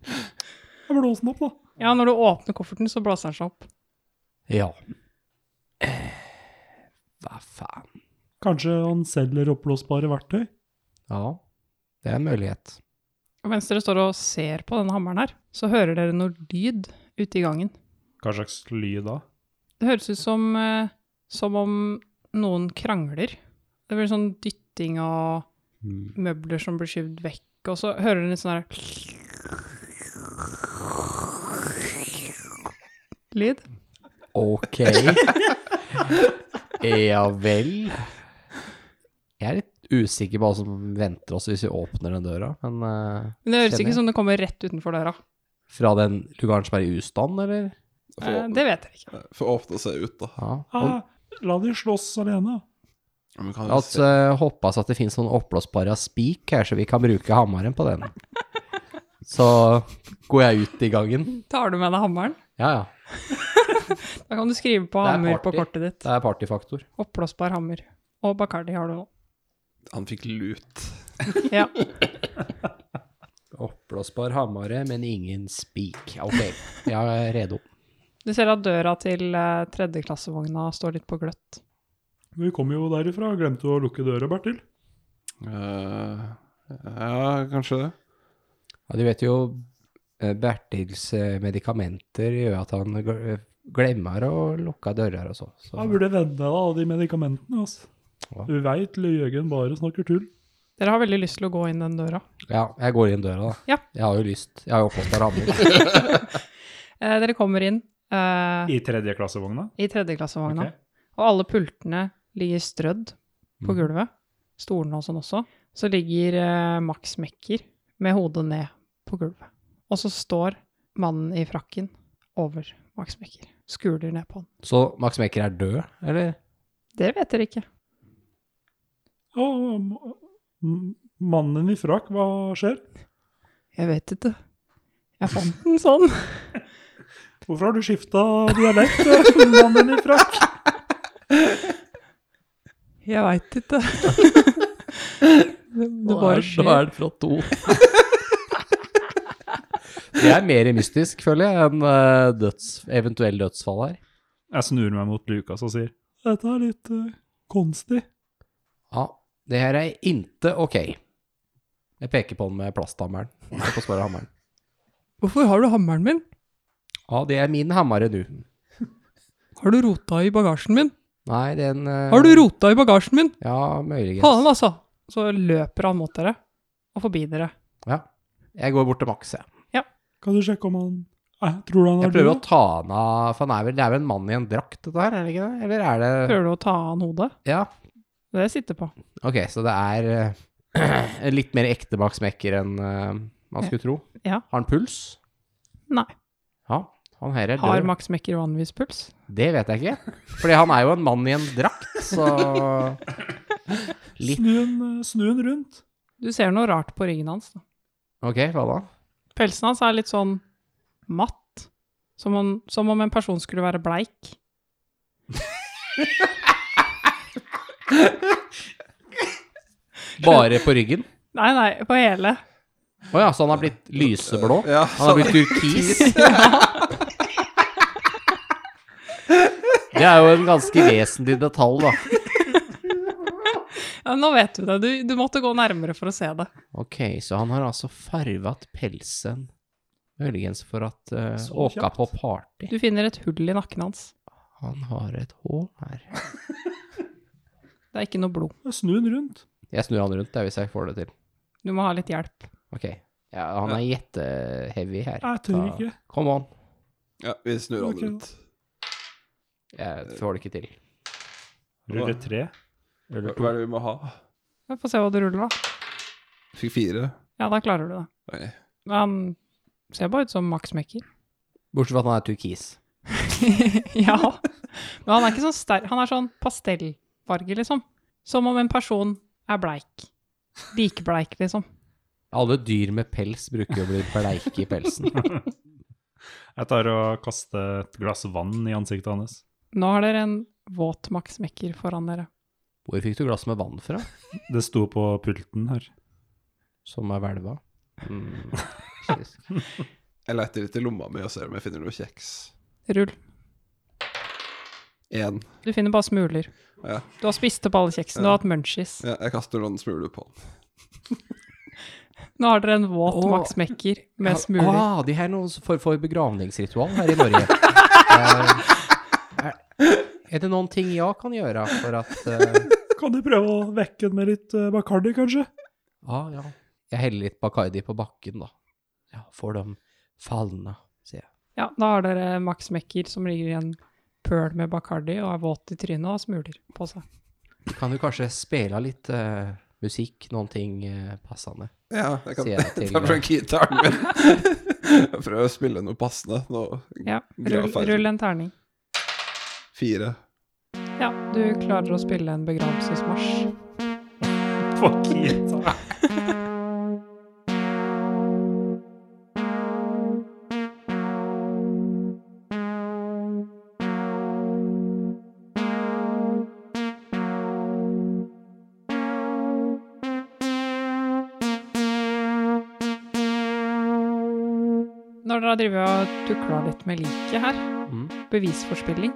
[SPEAKER 1] Jeg blåser den opp, da.
[SPEAKER 2] Ja, når du åpner kofferten, så blåser den seg opp.
[SPEAKER 3] Ja. Eh, Hva faen?
[SPEAKER 1] Kanskje han selger oppblåsbare verktøy?
[SPEAKER 3] Ja, det er en mulighet.
[SPEAKER 2] Og mens dere står og ser på denne hammeren her, så hører dere noe lyd ute i gangen.
[SPEAKER 1] Hva slags lyd da?
[SPEAKER 2] Det høres ut som, eh, som om noen krangler. Det blir sånn dytting og
[SPEAKER 3] Mm.
[SPEAKER 2] møbler som blir skyvd vekk, og så hører dere litt sånn her Lyd.
[SPEAKER 3] Ok. ja vel. Jeg er litt usikker på hva som venter oss hvis vi åpner den døra, men eh,
[SPEAKER 2] Men det høres
[SPEAKER 3] Kjenner jeg.
[SPEAKER 2] ikke som det kommer rett utenfor døra.
[SPEAKER 3] fra den lugaren som er i ustand, eller?
[SPEAKER 2] Eh,
[SPEAKER 4] Få-
[SPEAKER 2] Det vet dere ikke.
[SPEAKER 4] Få åpne seg ut, da.
[SPEAKER 3] Ja. Og
[SPEAKER 1] Ah, la de slåss alene.
[SPEAKER 4] Ja, men kan jo
[SPEAKER 3] at
[SPEAKER 4] se-
[SPEAKER 3] uh, hoppas at det finnes noen oppblåsbare spik her, så vi kan bruke hammeren på den. Så går jeg ut i gangen.
[SPEAKER 2] Tar du med deg hammeren?
[SPEAKER 3] Ja, ja.
[SPEAKER 2] Da kan du skrive på
[SPEAKER 3] Det er
[SPEAKER 2] hammer på
[SPEAKER 3] party.
[SPEAKER 2] kortet ditt.
[SPEAKER 3] Det er partyfaktor.
[SPEAKER 2] Oppblåsbar hammer. Og Bacardi har du nå.
[SPEAKER 4] Han fikk lut.
[SPEAKER 2] Ja.
[SPEAKER 3] Oppblåsbar hammare, men ingen spik. Ok, jeg er redo.
[SPEAKER 2] Du ser at døra til eh, tredjeklassevogna står litt på gløtt.
[SPEAKER 1] Vi kom jo derifra. Glemte å lukke døra, Bertil.
[SPEAKER 4] Eh, ja, kanskje det.
[SPEAKER 3] Ja, du vet jo, eh, Bertils eh, medikamenter gjør at han gl- eh, glemmer å lukke dører og sånn. Så.
[SPEAKER 1] Jeg burde vende deg av de medikamentene, altså.
[SPEAKER 3] Ja.
[SPEAKER 1] Du veit Jørgen bare snakker tull.
[SPEAKER 2] Dere har veldig lyst til å gå inn den døra.
[SPEAKER 3] Ja, jeg går inn døra, da.
[SPEAKER 2] Ja.
[SPEAKER 3] Jeg har jo lyst. Jeg har jo oppblåsbar hammer.
[SPEAKER 2] Eh, dere kommer inn eh,
[SPEAKER 1] I tredjeklassevogna?
[SPEAKER 2] i tredjeklassevogna,
[SPEAKER 1] Ok. Mm.
[SPEAKER 2] og alle pultene ligger strødd på gulvet. Stolene og sånn også. Så ligger eh, Max Mekker med hodet ned på gulvet. Og så står mannen i frakken over Max Mekker. Skuler ned på han.
[SPEAKER 3] Så Max Mekker er død, eller?
[SPEAKER 2] Det vet dere ikke.
[SPEAKER 1] Å, m- mannen i frakk, hva skjer?
[SPEAKER 2] Jeg vet ikke. Jeg fant den sånn.
[SPEAKER 1] Hvorfor har du skifta dialekt, mannen i frakk?
[SPEAKER 8] Jeg veit ikke. det, det bare skjer.
[SPEAKER 3] er det fra to. Det er mer mystisk, føler jeg, enn eh, døds, eventuell dødsfall her.
[SPEAKER 1] Jeg snur meg mot Lukas og sier Dette er litt eh, konstig.
[SPEAKER 3] Ja, det her er inte ok. Jeg peker på den med plasthammeren. Jeg får svare hammeren.
[SPEAKER 8] Hvorfor har du hammeren min?
[SPEAKER 3] Ja, det er min hammare nå.
[SPEAKER 8] Har du rota i bagasjen min?
[SPEAKER 3] Nei, den eh,
[SPEAKER 8] Har du rota i bagasjen min?
[SPEAKER 3] Ja, muligens.
[SPEAKER 8] Faen, altså!
[SPEAKER 2] Så løper han mot dere, og forbi dere.
[SPEAKER 3] Ja. Jeg går bort til Max, jeg.
[SPEAKER 1] Kan du sjekke om han eh, Tror du han
[SPEAKER 3] Jeg
[SPEAKER 1] er
[SPEAKER 3] prøver å
[SPEAKER 1] død?
[SPEAKER 3] ta han av For han er vel, det er vel en mann i en drakt, dette her, er det ikke det? Eller er det
[SPEAKER 2] Prøver du å ta av han hodet?
[SPEAKER 3] Ja.
[SPEAKER 2] Det sitter på.
[SPEAKER 3] Ok, så det er eh, litt mer ekte Max Mekker enn eh, man skulle tro.
[SPEAKER 2] Ja.
[SPEAKER 3] Har han puls?
[SPEAKER 2] Nei.
[SPEAKER 3] Ja. Han her er
[SPEAKER 2] Har
[SPEAKER 3] død.
[SPEAKER 2] Max Mekker vanligvis puls?
[SPEAKER 3] Det vet jeg ikke. Fordi han er jo en mann i en drakt, så litt
[SPEAKER 1] Snu den, eh, Snu den rundt.
[SPEAKER 2] Du ser noe rart på ryggen hans. da.
[SPEAKER 3] Ok, hva da?
[SPEAKER 2] Pelsen hans er litt sånn matt. Som om, som om en person skulle være bleik.
[SPEAKER 3] Bare på ryggen?
[SPEAKER 2] Nei, nei, på hele.
[SPEAKER 3] Å ja, så han har blitt lyseblå?
[SPEAKER 4] Ja,
[SPEAKER 3] Han har blitt turkis? Det er jo en ganske vesentlig detalj, da.
[SPEAKER 2] Ja, nå vet du det. Du, du måtte gå nærmere for å se det.
[SPEAKER 3] Ok, så han har altså farvet pelsen, muligens for at uh,
[SPEAKER 1] Så
[SPEAKER 3] åka
[SPEAKER 1] kjapt.
[SPEAKER 3] på party.
[SPEAKER 2] Du finner et hull i nakken hans.
[SPEAKER 3] Han har et hål her.
[SPEAKER 2] Det er ikke noe blod.
[SPEAKER 1] Snu den rundt.
[SPEAKER 3] Jeg snur han rundt der hvis jeg får det til.
[SPEAKER 2] Du må ha litt hjelp.
[SPEAKER 3] Ok, ja, han er jetteheavy her.
[SPEAKER 1] Jeg tør
[SPEAKER 3] Ta-
[SPEAKER 1] ikke.
[SPEAKER 3] Come on,
[SPEAKER 4] ja, vi snur han
[SPEAKER 1] Ok.
[SPEAKER 4] rundt.
[SPEAKER 3] jeg får det ikke til.
[SPEAKER 1] Rulle tre.
[SPEAKER 4] Hva hva er det vi må ha?
[SPEAKER 2] Vi får se hva du ruller, da.
[SPEAKER 4] Fikk fire.
[SPEAKER 2] Ja, da klarer du det.
[SPEAKER 4] Oi.
[SPEAKER 2] Men han ser bare ut som Max Mekker.
[SPEAKER 3] Bortsett fra at han er turkis.
[SPEAKER 2] ja. Men han er ikke sånn sterk. Han er sånn pastellfarge, liksom. Som om en person er bleik. Likbleik, liksom.
[SPEAKER 3] Alle dyr med pels bruker jo å bli bleike i pelsen.
[SPEAKER 1] Jeg tar og kaster et glass vann i ansiktet hans.
[SPEAKER 2] Nå har dere en våt Max Mekker foran dere.
[SPEAKER 3] Hvor fikk du glass med vann fra?
[SPEAKER 1] Det sto på pulten her.
[SPEAKER 3] Som er velva. Mm. Jesus.
[SPEAKER 4] Jeg leter litt i lomma mi og ser om jeg finner noe kjeks.
[SPEAKER 2] Rull.
[SPEAKER 4] Én.
[SPEAKER 2] Du finner bare smuler.
[SPEAKER 4] Ja.
[SPEAKER 2] Du har spist opp alle kjeksene, du har hatt munchies.
[SPEAKER 4] Ja, jeg kaster noen smuler på den.
[SPEAKER 2] Nå har dere en våt
[SPEAKER 3] Åh.
[SPEAKER 2] Max Mekker med
[SPEAKER 3] Ja,
[SPEAKER 2] smuler.
[SPEAKER 3] Ah, de her er noen form for begravningsritual her i Norge. Eh, er, er det noen ting jeg kan gjøre for at eh,
[SPEAKER 1] Kan du prøve å vekke den med litt eh, Bacardi, kanskje?
[SPEAKER 3] ah, ja. Jeg heller litt Bacardi på bakken, da. Ja, for dem falne, sier jeg.
[SPEAKER 2] Ja, da har dere Max Mekker som ligger i en pøl med Bacardi og er våt i trynet og har smuler på seg.
[SPEAKER 3] Kan du kanskje spille litt eh, musikk, noen ting eh, passende?
[SPEAKER 4] Ja, jeg kan
[SPEAKER 3] Sier jeg til-
[SPEAKER 4] ta fra gitaren min. Jeg prøver å spille noe passende. Nå
[SPEAKER 2] Ja,
[SPEAKER 4] Glad
[SPEAKER 2] rull,
[SPEAKER 4] for-
[SPEAKER 2] rull en terning.
[SPEAKER 4] fire.
[SPEAKER 2] Ja, du klarer å spille en begravelsesmarsj.
[SPEAKER 1] Fuck yeah.
[SPEAKER 2] Når dere har drevet og tukla litt med liket her,
[SPEAKER 3] Mm.
[SPEAKER 2] bevisforspilling,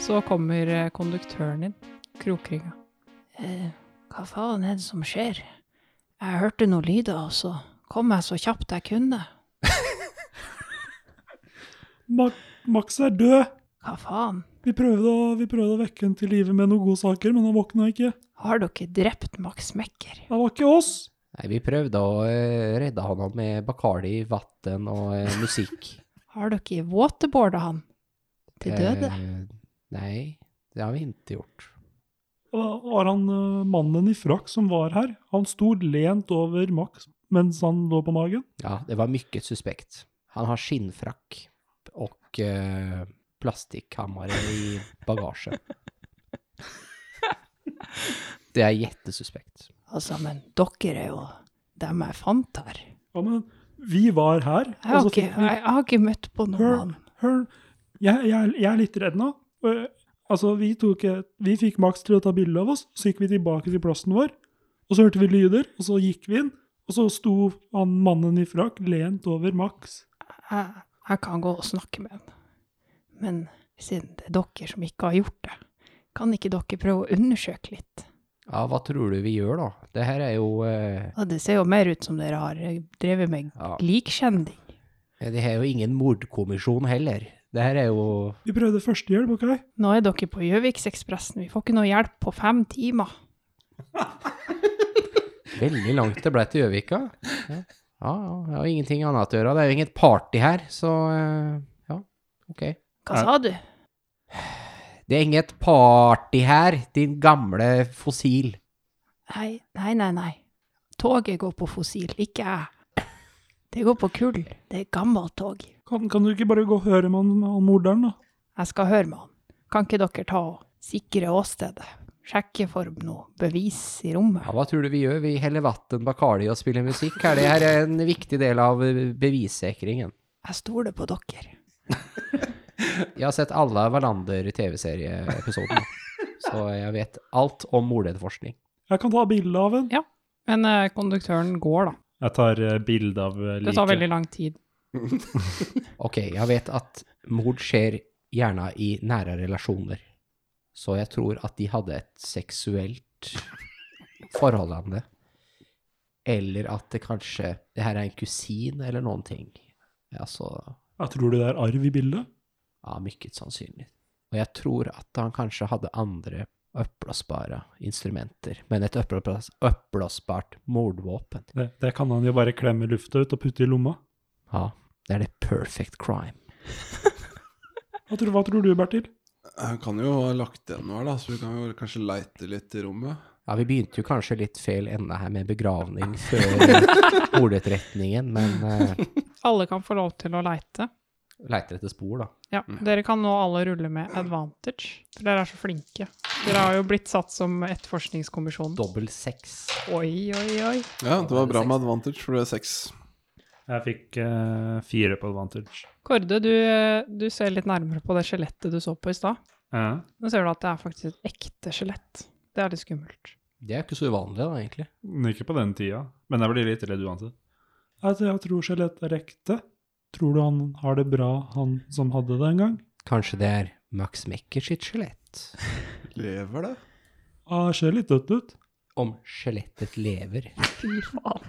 [SPEAKER 2] så kommer eh, konduktøren din, Krokringa.
[SPEAKER 5] Eh, hva faen er det som skjer? Jeg hørte noen lyder, og så kom jeg så kjapt jeg kunne.
[SPEAKER 1] Ma Max er død.
[SPEAKER 5] Hva faen?
[SPEAKER 1] Vi prøvde, å, vi prøvde å vekke han til live med noen gode saker, men han våkna ikke.
[SPEAKER 5] Har dere drept Max Mekker?
[SPEAKER 1] Det var ikke oss.
[SPEAKER 3] Nei, vi prøvde å eh, redde han med Bacardi, vann og eh, musikk.
[SPEAKER 5] Har dere waterboarda han? Til døde?
[SPEAKER 3] Eh, nei, det har vi ikke gjort.
[SPEAKER 1] Og Da var han eh, mannen i frakk som var her. Han sto lent over Max mens han lå på magen.
[SPEAKER 3] Ja, det var mycket suspekt. Han har skinnfrack och eh, plastikkammare i bagaget. Det är jättesuspekt.
[SPEAKER 5] Altså, men dere er jo dem jeg fant her.
[SPEAKER 1] Ja, men vi var her.
[SPEAKER 5] Jeg har,
[SPEAKER 1] og så
[SPEAKER 5] ikke,
[SPEAKER 1] fikk vi-
[SPEAKER 5] jeg, jeg har ikke møtt på noen
[SPEAKER 1] Hør,
[SPEAKER 5] mann.
[SPEAKER 1] hør. Jeg, jeg, jeg er litt redd nå. Eh, Altså, vi, tok et, vi fikk Max til å ta bilde av oss, så gikk vi tilbake til plassen vår. Og så hørte vi lyder, og så gikk vi inn. Og så sto han mannen i frakk lent over Max.
[SPEAKER 5] Jeg, jeg kan gå og snakke med han. Men siden det er dere som ikke har gjort det, kan ikke dere prøve å undersøke litt?
[SPEAKER 3] Ja, vad tror du vi gör då? Det här är ju... eh,
[SPEAKER 5] Ja, det ser jo mer ut som dere har eh, drevet med
[SPEAKER 3] ja,
[SPEAKER 5] likkjending.
[SPEAKER 3] Eh, det här är ju ingen mordkommission heller. Det här är ju...
[SPEAKER 1] Vi prøvde førstehjelp, OK?
[SPEAKER 5] Nå er dere på Gjøviksekspressen, vi får ikke noe hjelp på fem timer.
[SPEAKER 3] Veldig langt det ble til Gjøvika. Ja, ja, jeg har ingenting annet å gjøre. Det er jo inget party her, så eh, ja, ok.
[SPEAKER 5] Hva sa du?
[SPEAKER 3] Det er inget party her, din gamle fossil.
[SPEAKER 5] Nei, nei, nei, nei. Toget går på fossil, ikke jeg. Det går på kull. Det er gammelt tog.
[SPEAKER 1] Kan, kan du ikke bare gå og høre med han, han morderen, da?
[SPEAKER 5] Jeg skal høre med han. Kan ikke dere ta og sikre åstedet? Sjekke for noe bevis i
[SPEAKER 3] Ja,
[SPEAKER 5] rommet?
[SPEAKER 3] hva tror du vi gjør? Vi heller vatten, Bacardi og spiller musikk? Er det her en viktig del av bevissikringen?
[SPEAKER 5] Jeg stoler på dere.
[SPEAKER 3] Jeg har sett alle Verlander-TV-serieepisodene, så jeg vet alt om mordetterforskning.
[SPEAKER 1] Jeg kan ta bilde av en.
[SPEAKER 2] Men eh, konduktøren går, da.
[SPEAKER 6] Jeg tar eh, bilde av eh,
[SPEAKER 2] Det tar
[SPEAKER 6] liket.
[SPEAKER 2] veldig lang tid.
[SPEAKER 3] Ok, jeg vet at mord skjer gjerne i nære relasjoner, så jeg tror at de hadde et seksuelt forhold om det. Eller at det kanskje Det her er en kusin eller noen ting. Altså
[SPEAKER 1] Jeg tror du det er arv i bildet.
[SPEAKER 3] Ja, mykket sannsynlig. Og jeg tror at han kanskje hadde andre oppblåsbare instrumenter, men et oppblås- oppblåsbart mordvåpen.
[SPEAKER 1] Det, det kan han jo bare klemme lufta ut og putte i lomma.
[SPEAKER 3] Ja, det er det perfect crime.
[SPEAKER 1] Hva tror, hva tror du, Bertil?
[SPEAKER 4] Jeg kan jo ha lagt igjen noe her, da, så vi kan jo kanskje leite litt i rommet.
[SPEAKER 3] Ja, vi begynte jo kanskje litt feil ende her med begravning før mordetterretningen, men uh,
[SPEAKER 2] Alle kan få lov til å leite.
[SPEAKER 3] leiter etter spor, da.
[SPEAKER 2] Ja, Dere kan nå alle rulle med advantage, for dere er så flinke. Dere har jo blitt satt som etterforskningskommisjonen.
[SPEAKER 3] Dobbel seks.
[SPEAKER 2] Oi, oi, oi.
[SPEAKER 4] Ja, det var bra med advantage, for du er seks.
[SPEAKER 6] Jeg fikk eh, fire på advantage.
[SPEAKER 2] Kårde, du, du ser litt nærmere på det skjelettet du så på i stad.
[SPEAKER 6] Ja.
[SPEAKER 2] Nå ser du at det er faktisk et ekte skjelett. Det er litt skummelt.
[SPEAKER 3] Det er jo ikke så uvanlig, da, egentlig.
[SPEAKER 6] Men Ikke på den tida, men jeg blir litt redd uansett.
[SPEAKER 1] Jeg, jeg tror skjelettet er ekte. Tror du han har det bra, han som hadde det en gang?
[SPEAKER 3] Kanskje det er Max Mekker sitt skjelett?
[SPEAKER 4] Lever det?
[SPEAKER 1] Ja, det ser litt dødt ut.
[SPEAKER 3] Om skjelettet lever. Fy faen.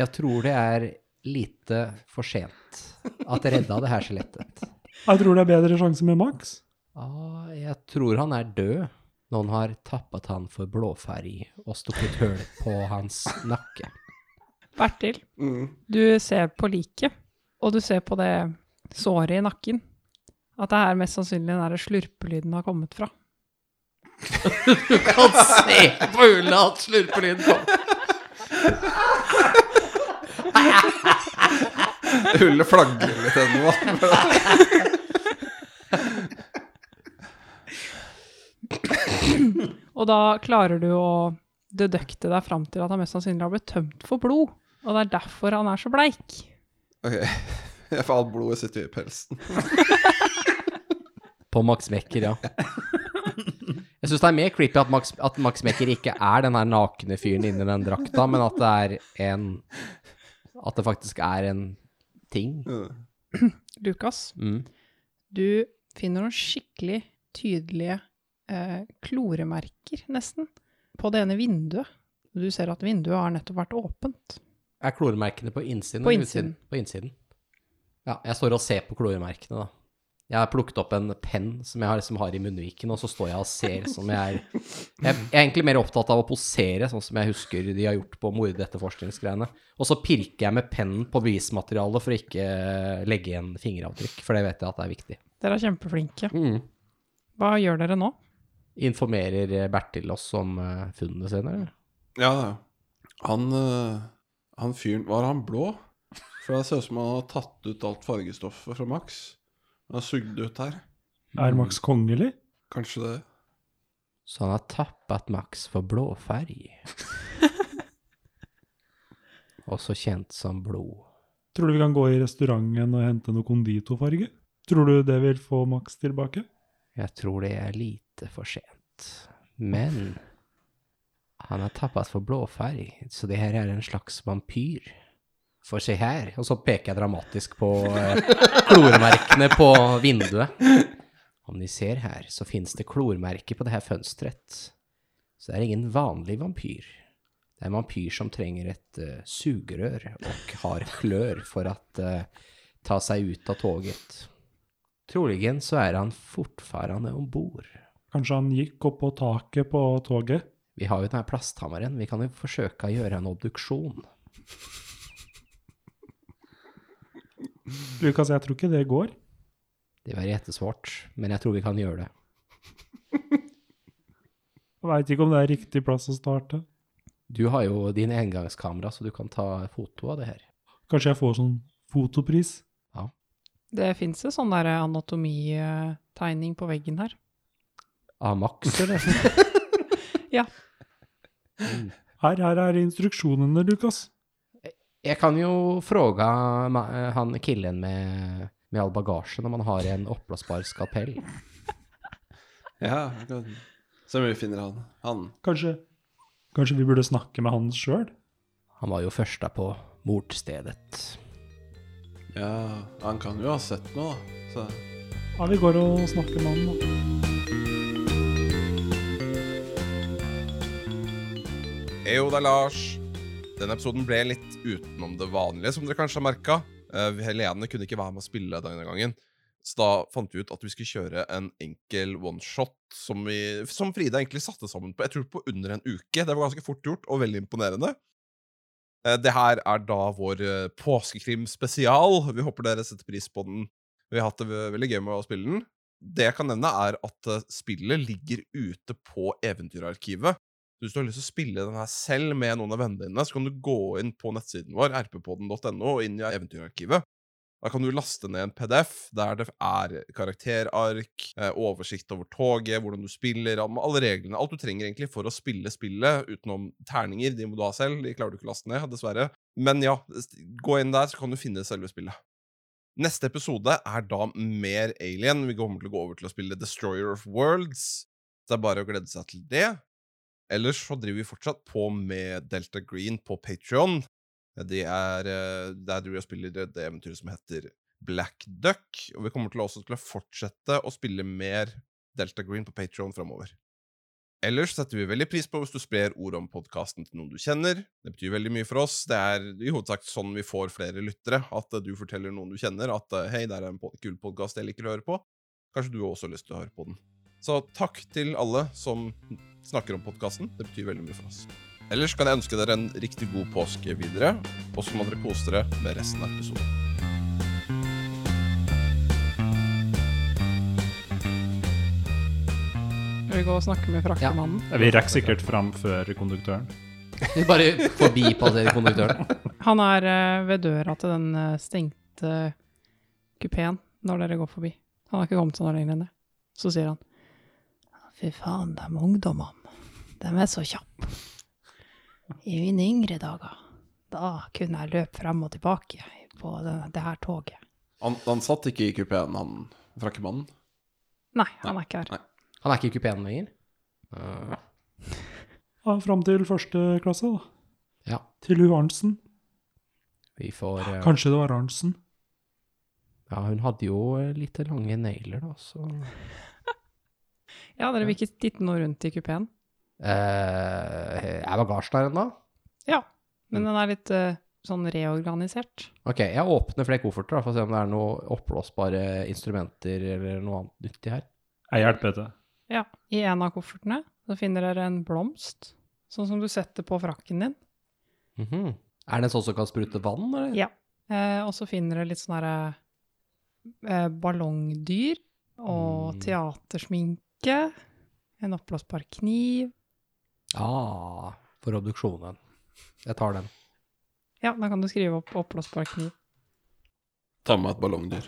[SPEAKER 3] Jeg tror det er lite for sent at det redda det her skjelettet.
[SPEAKER 1] Jeg tror det er bedre sjanse med Max.
[SPEAKER 3] Ah, jeg tror han er død. Noen har tappet han for blåfarge og stukket hull på hans nakke.
[SPEAKER 2] Bertil,
[SPEAKER 4] Mm.
[SPEAKER 2] du ser på liket, og du ser på det såret i nakken. At det er mest sannsynlig den der slurpelyden har kommet fra.
[SPEAKER 3] kan se på hullet at slurpelyden kom.
[SPEAKER 4] Hullet flagrer litt ennå. da.
[SPEAKER 2] Og da klarer du å dedøkte deg fram til at han mest sannsynlig har blitt tømt for blod. Og det er derfor han er så bleik.
[SPEAKER 4] Ok, jeg får alt blodet sitt i pelsen.
[SPEAKER 3] På Max Mekker, ja. Jeg syns det er mer creepy at Max, at Max Mekker ikke er den her nakne fyren inni den drakta, men at det er en At det faktisk er en ting.
[SPEAKER 2] Lukas,
[SPEAKER 3] Mm.
[SPEAKER 2] du finner noen skikkelig tydelige eh, kloremerker, nesten, på det ene vinduet. Du ser at vinduet har nettopp vært åpent.
[SPEAKER 3] Er kloremerkene på innsiden
[SPEAKER 2] På
[SPEAKER 3] eller
[SPEAKER 2] innsiden.
[SPEAKER 3] utsiden? På innsiden. Ja, jeg står og ser på kloremerkene, da. Jeg har plukket opp en penn som jeg har, som har i munnviken, og så står jeg og ser sånn som jeg er Jeg jeg er egentlig mer opptatt av å posere, sånn som jeg husker de har gjort på mordetterforskningsgreiene. Og så pirker jeg med pennen på bevismaterialet for å ikke eh, legge igjen fingeravtrykk, for det vet jeg at er viktig.
[SPEAKER 2] Dere er kjempeflinke.
[SPEAKER 3] Mm.
[SPEAKER 2] Hva gjør dere nå?
[SPEAKER 3] Informerer Bertil oss om eh, funnene sine, eller?
[SPEAKER 4] Ja, ja. Han, eh, han fyren Var han blå? For det ser ut som han har tatt ut alt fargestoffet fra Max. Han har sugd ut her.
[SPEAKER 1] Er Max kongelig?
[SPEAKER 4] Kanskje det
[SPEAKER 3] Så han har tappet Max for blåfarg. Også kjent som blod.
[SPEAKER 1] Tror du vi kan gå i restauranten og hente noe konditorfarge? Tror du det vil få Max tilbake?
[SPEAKER 3] Jeg tror det er lite for sent. Men han har tappet for blåfarg, så det her er en slags vampyr. For se her. Og så peker jeg dramatisk på eh, klormerkene på vinduet. Om de ser her, så finnes det klormerker på det her fønsteret. Så det er ingen vanlig vampyr. Det er en vampyr som trenger et eh, sugerør og har klør for å ta seg ut av toget. Troligen så er han fortfarande om bord.
[SPEAKER 1] Kanskje han gikk opp på taket på toget?
[SPEAKER 3] Vi har jo denne plasthammeren, vi kan jo forsøke å gjøre en obduksjon.
[SPEAKER 1] Lukas, jeg tror ikke det går.
[SPEAKER 3] Det var jettesvårt, men jeg tror vi kan gjøre det.
[SPEAKER 1] Jeg Veit ikke om det er riktig plass å starte.
[SPEAKER 3] Du har jo din engangskamera, så du kan ta foto av det her.
[SPEAKER 1] Kanskje jeg får sånn fotopris?
[SPEAKER 2] Det fins en sånn der
[SPEAKER 8] eh,
[SPEAKER 2] anatomitegning på veggen her.
[SPEAKER 3] Av Max, eller?
[SPEAKER 1] Her, her er instruksjonene, Lukas.
[SPEAKER 3] Jeg kan jo fråga ma- han eh, killen med med all bagasje når man har en oppblåsbar skapell.
[SPEAKER 4] Ja, vi kan se om vi finner han. Han
[SPEAKER 1] Kanskje, kanskje vi burde snakke med han sjøl?
[SPEAKER 3] Han var jo først der på mordstedet.
[SPEAKER 4] Ja, han kan jo ha sett noe, da. Så
[SPEAKER 1] Ja, vi går og snakker med han. da.
[SPEAKER 9] Eyo, det er Lars. Denne episoden ble litt utenom det vanlige, som dere kanskje har merka. Helene kunne ikke være med å spille denne gangen, så da fant vi ut at vi skulle kjøre en enkel oneshot som, vi- som Frida egentlig satte sammen på jeg tror på under en uke. Det var ganske fort gjort, og veldig imponerende. Eh, Det her er da vår eh, påskekrim-spesial. Vi håper dere setter pris på den. Vi har hatt det ve- veldig gøy med å spille den. Det jeg kan nevne, er at eh, spillet ligger ute på Eventyrarkivet. Så Hvis du har lyst til å spille den her selv med noen av vennene dine, så kan du gå inn på nettsiden vår, rppodden.no, og inn i eventyrarkivet. Da kan du laste ned en PDF der det er karakterark, eh, oversikt over toget, hvordan du spiller, all- alle reglene. Alt du trenger egentlig for å spille spillet, utenom terninger. De må du ha selv, de klarer du ikke å laste ned, dessverre. Men ja, s- gå inn der, så kan du finne selve spillet. Neste episode er da mer Alien. Vi kommer til å gå over til å spille Destroyer of Worlds. Så det er bare å glede seg til det. Ellers så driver vi fortsatt på med Delta Green på Patreon. Det er eh, der driver vi og spiller det det eventyret som heter Black Duck. Og vi kommer til å- også til å fortsette å spille mer Delta Green på Patreon framover. Ellers setter vi veldig pris på hvis du sprer ord om podkasten til noen du kjenner. Det betyr veldig mye for oss. Det er i hovedsak sånn vi får flere lyttere. At eh, du forteller noen du kjenner at eh, 'hei, der er en pod- kul podkast jeg liker å høre på'. Kanskje du også har lyst til å høre på den. Så takk til alle som snakker om podkasten. Det betyr veldig mye for oss. Ellers kan jeg ønske dere en riktig god påske videre, og så må dere kose dere med resten av episoden.
[SPEAKER 8] Skal vi gå og snakke med fraktemannen?
[SPEAKER 6] Vi rakk sikkert fram før konduktøren.
[SPEAKER 3] Vi bare forbipasserer konduktøren.
[SPEAKER 8] Han er eh, ved døra til den eh, stengte kupeen når dere går forbi. Han har ikke kommet seg noe lenger enn det. Så sier han
[SPEAKER 5] Fy faen, de ungdommene. De er så kjappe. I mine yngre dager, da kunne jeg løpe frem og tilbake på det, det her toget.
[SPEAKER 4] han, han satt ikke i kupeen, han frakkemannen?
[SPEAKER 8] nei, han er ikke her.
[SPEAKER 3] Han er ikke i kupeen lenger.
[SPEAKER 1] Ja, Fram til første klasse, da.
[SPEAKER 3] Ja,
[SPEAKER 1] Til hun Arntzen.
[SPEAKER 3] vi får eh,
[SPEAKER 1] Kanskje det var Arntzen.
[SPEAKER 3] Ja, hun hadde jo eh, litt lange negler, da, så
[SPEAKER 8] Ja, dere vil ikke titte noe rundt i kupeen,
[SPEAKER 3] Eh, Er bagasjen her ennå?
[SPEAKER 8] men den er litt eh, sånn reorganisert.
[SPEAKER 3] Ok, jeg åpner flere kofferter da, for å se om det er noen oppblåsbare instrumenter eller noe annet nyttig her.
[SPEAKER 6] Jeg hjelper til.
[SPEAKER 8] Ja, i en av koffertene så finner dere en blomst, sånn som du setter på frakken din.
[SPEAKER 3] Mhm. Er det en sånn som kan sprute vann, eller?
[SPEAKER 8] Ja. Eh, og så finner dere litt sånne her, eh, ballongdyr og
[SPEAKER 3] Mm.
[SPEAKER 8] teatersminke. En oppblåsbar kniv.
[SPEAKER 3] Ah, for obduksjonen. Jeg tar den.
[SPEAKER 8] Ja, da kan du skrive opp oppblåsbar kniv.
[SPEAKER 4] Ta med meg et ballongdyr.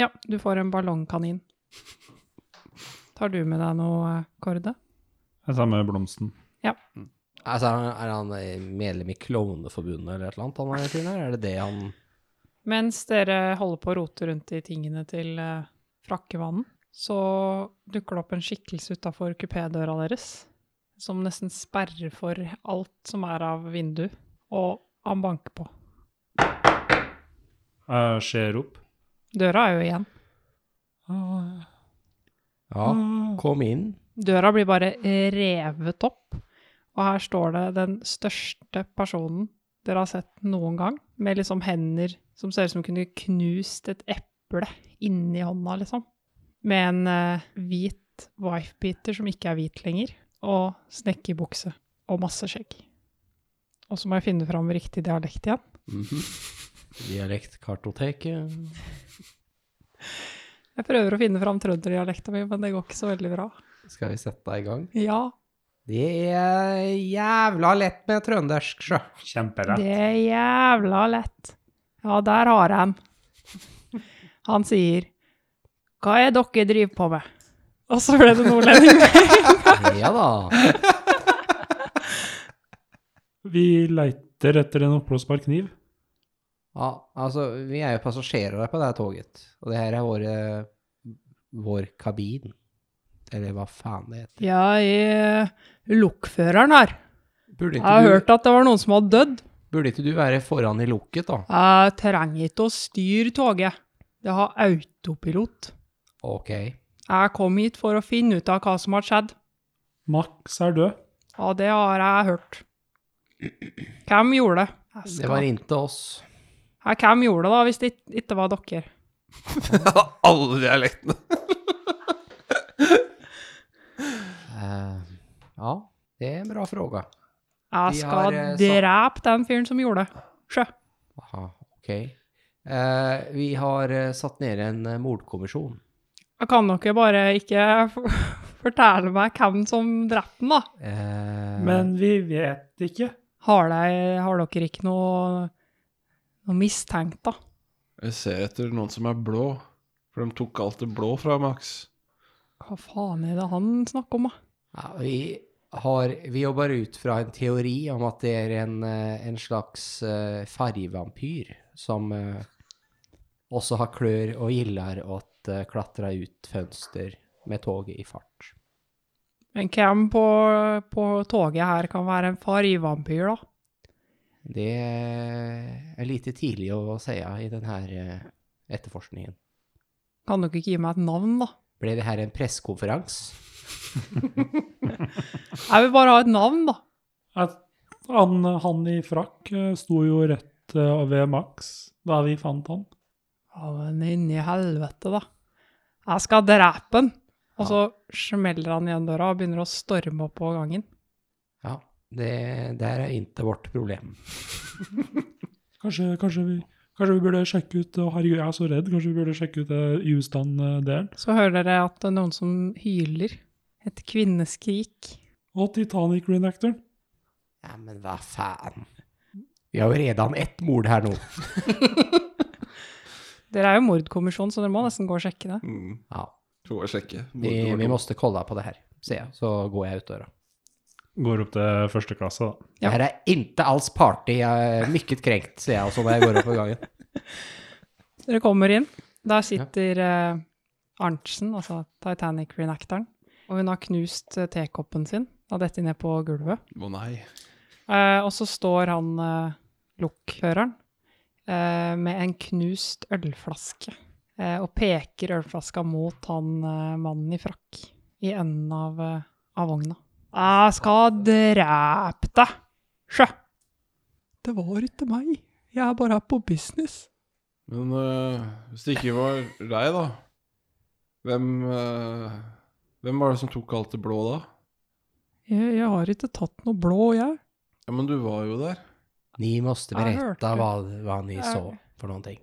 [SPEAKER 8] Ja, du får en ballongkanin. Tar du med deg noe, eh, Kårde?
[SPEAKER 6] Jeg tar med blomsten.
[SPEAKER 3] Altså, er han- er han eh, medlem i Klovneforbundet eller et eller annet, han er fyren her? Er det det han
[SPEAKER 8] Mens dere holder på å rote rundt i tingene til eh, frakkevannen, så dukker det opp en skikkelse utafor kupédøra deres, som nesten sperrer for alt som er av vindu, og han banker på.
[SPEAKER 6] Jeg ser opp.
[SPEAKER 8] Døra er jo igjen.
[SPEAKER 1] Ja,
[SPEAKER 3] Ja, kom inn.
[SPEAKER 8] Døra blir bare revet opp, og her står det den største personen dere har sett noen gang, med liksom hender som ser ut som kunne knust et eple inni hånda, liksom. Med en eh, hvit wifebeater som ikke er hvit lenger, og snekkerbukse og masse skjegg. Og så må jeg finne fram riktig dialekt igjen.
[SPEAKER 3] Mhm. Dialektkartoteket.
[SPEAKER 8] Jeg prøver å finne fram trønderdialekta mi, men det går ikke så veldig bra.
[SPEAKER 3] Skal vi sette deg i gang?
[SPEAKER 8] Ja,
[SPEAKER 3] Det er jævla lett med trøndersk, sjø.
[SPEAKER 6] Kjemperett.
[SPEAKER 8] Det er jævla lett. Ja, der har jeg den. Han sier, hva er dere driver på med? Og så ble det nordlending.
[SPEAKER 3] Ja da.
[SPEAKER 1] Vi leiter etter en oppblåsbar kniv.
[SPEAKER 3] Ja, altså, vi er jo passasjerer på det her toget, og det her er våre, vår kabin. Eller hva faen det heter.
[SPEAKER 8] Ja, jeg, lokføreren her.
[SPEAKER 3] Burde
[SPEAKER 8] Jeg
[SPEAKER 3] ikke,
[SPEAKER 8] har
[SPEAKER 3] du,
[SPEAKER 8] hørt at det var noen som hadde dødd.
[SPEAKER 3] burde ikke du være foran i loket, da?
[SPEAKER 8] Jeg trenger ikke å styre toget. Det har autopilot.
[SPEAKER 3] Ok.
[SPEAKER 8] Jeg kom hit for å finne ut av hva som har skjedd.
[SPEAKER 1] Max er død.
[SPEAKER 8] Ja, det har jeg hørt. Hvem gjorde det? Jeg
[SPEAKER 3] Det var
[SPEAKER 8] skal...
[SPEAKER 3] inntil oss.
[SPEAKER 8] ja, hvem gjorde det, da, hvis det ikke- ikke var dere?
[SPEAKER 4] Alle dialektene.
[SPEAKER 3] Eh, ja, det er en bra fråga. Vi
[SPEAKER 8] Jeg
[SPEAKER 3] har,
[SPEAKER 8] skal
[SPEAKER 3] eh, sa-
[SPEAKER 8] drepe den fyren som gjorde det. Sjø.
[SPEAKER 3] Aha, ok. Eh, vi har eh, satt ned en eh, mordkommisjon.
[SPEAKER 8] Jeg kan dere bare ikke f- fortelle meg hvem som drepte den, da?
[SPEAKER 3] Eh,
[SPEAKER 1] Men vi vet ikke.
[SPEAKER 8] Har, de, har dere ikke noe, noe mistenkt, da?
[SPEAKER 4] Jeg ser etter noen som er blå, for de tok alt det blå fra Max.
[SPEAKER 8] Hva faen er det han snakker om, da?
[SPEAKER 3] Ja, vi, har, vi jobber ut fra en teori om at det er en, eh, en slags eh, fargevampyr som eh, også har klør og gilder og at eh, klatrer ut fønster med toget i fart.
[SPEAKER 8] Men hvem på, på toget her kan være en fargevampyr, da?
[SPEAKER 3] Det er lite tidlig å si i denne etterforskningen.
[SPEAKER 8] Kan dere ikke gi meg et navn, da?
[SPEAKER 3] Ble det her en pressekonferanse?
[SPEAKER 8] Jeg vil bare ha et navn, da.
[SPEAKER 1] At han, han i frakk eh, sto jo rett eh, ved Max da vi fant han.
[SPEAKER 8] Ja, men inni helvete, da. Jeg skal drepe den! Og så smeller han igjen døra og begynner å storme opp på gangen.
[SPEAKER 3] Ja, det der er ikke vårt problem.
[SPEAKER 1] Kanskje, kanskje, vi, kanskje vi burde sjekke ut å, Herregud, jeg er så redd. Kanskje vi burde sjekke ut eh, Houston-delen.
[SPEAKER 8] Så hører dere at det er noen som hyler. Et kvinneskrik.
[SPEAKER 1] Og Titanic-reenactoren.
[SPEAKER 3] Ja, men hva faen? Vi har jo redan ett mord her nå.
[SPEAKER 8] Dere er jo mordkommisjon, så dere må nesten gå og sjekke det.
[SPEAKER 4] Mm.
[SPEAKER 3] Ja,
[SPEAKER 4] Skal bare sjekke.
[SPEAKER 3] Vi, vi måste kolla på det her, sier jeg. Så går jeg ut døra.
[SPEAKER 6] Går opp til første klasse, da.
[SPEAKER 3] Det
[SPEAKER 8] Ja.
[SPEAKER 3] her er inte alls party. Jeg er mykket krenkt, sier jeg også når jeg går opp i gangen.
[SPEAKER 8] Dere kommer inn. Der sitter eh, Arntzen, altså Titanic-reenactoren, og hun har knust eh, tekoppen sin. Da detter ned på gulvet.
[SPEAKER 4] Å nei.
[SPEAKER 8] Eh, og så står han eh, lokføreren eh, med en knust ølflaske eh, og peker ølflaska mot han eh, mannen i frakk i enden av, eh, av vogna. Jeg skal drepe deg! Sjø! Det var ikke meg. Jeg er bare her på business.
[SPEAKER 4] Men eh, hvis det ikke var deg, da Hvem eh, Hvem var det som tok alt det blå da?
[SPEAKER 8] Jeg, jeg har ikke tatt noe blå, jeg.
[SPEAKER 4] Ja, men du var jo der.
[SPEAKER 3] Ni måste
[SPEAKER 8] Jeg
[SPEAKER 3] berätta
[SPEAKER 8] hørte.
[SPEAKER 3] hva, hva ni så for noen ting.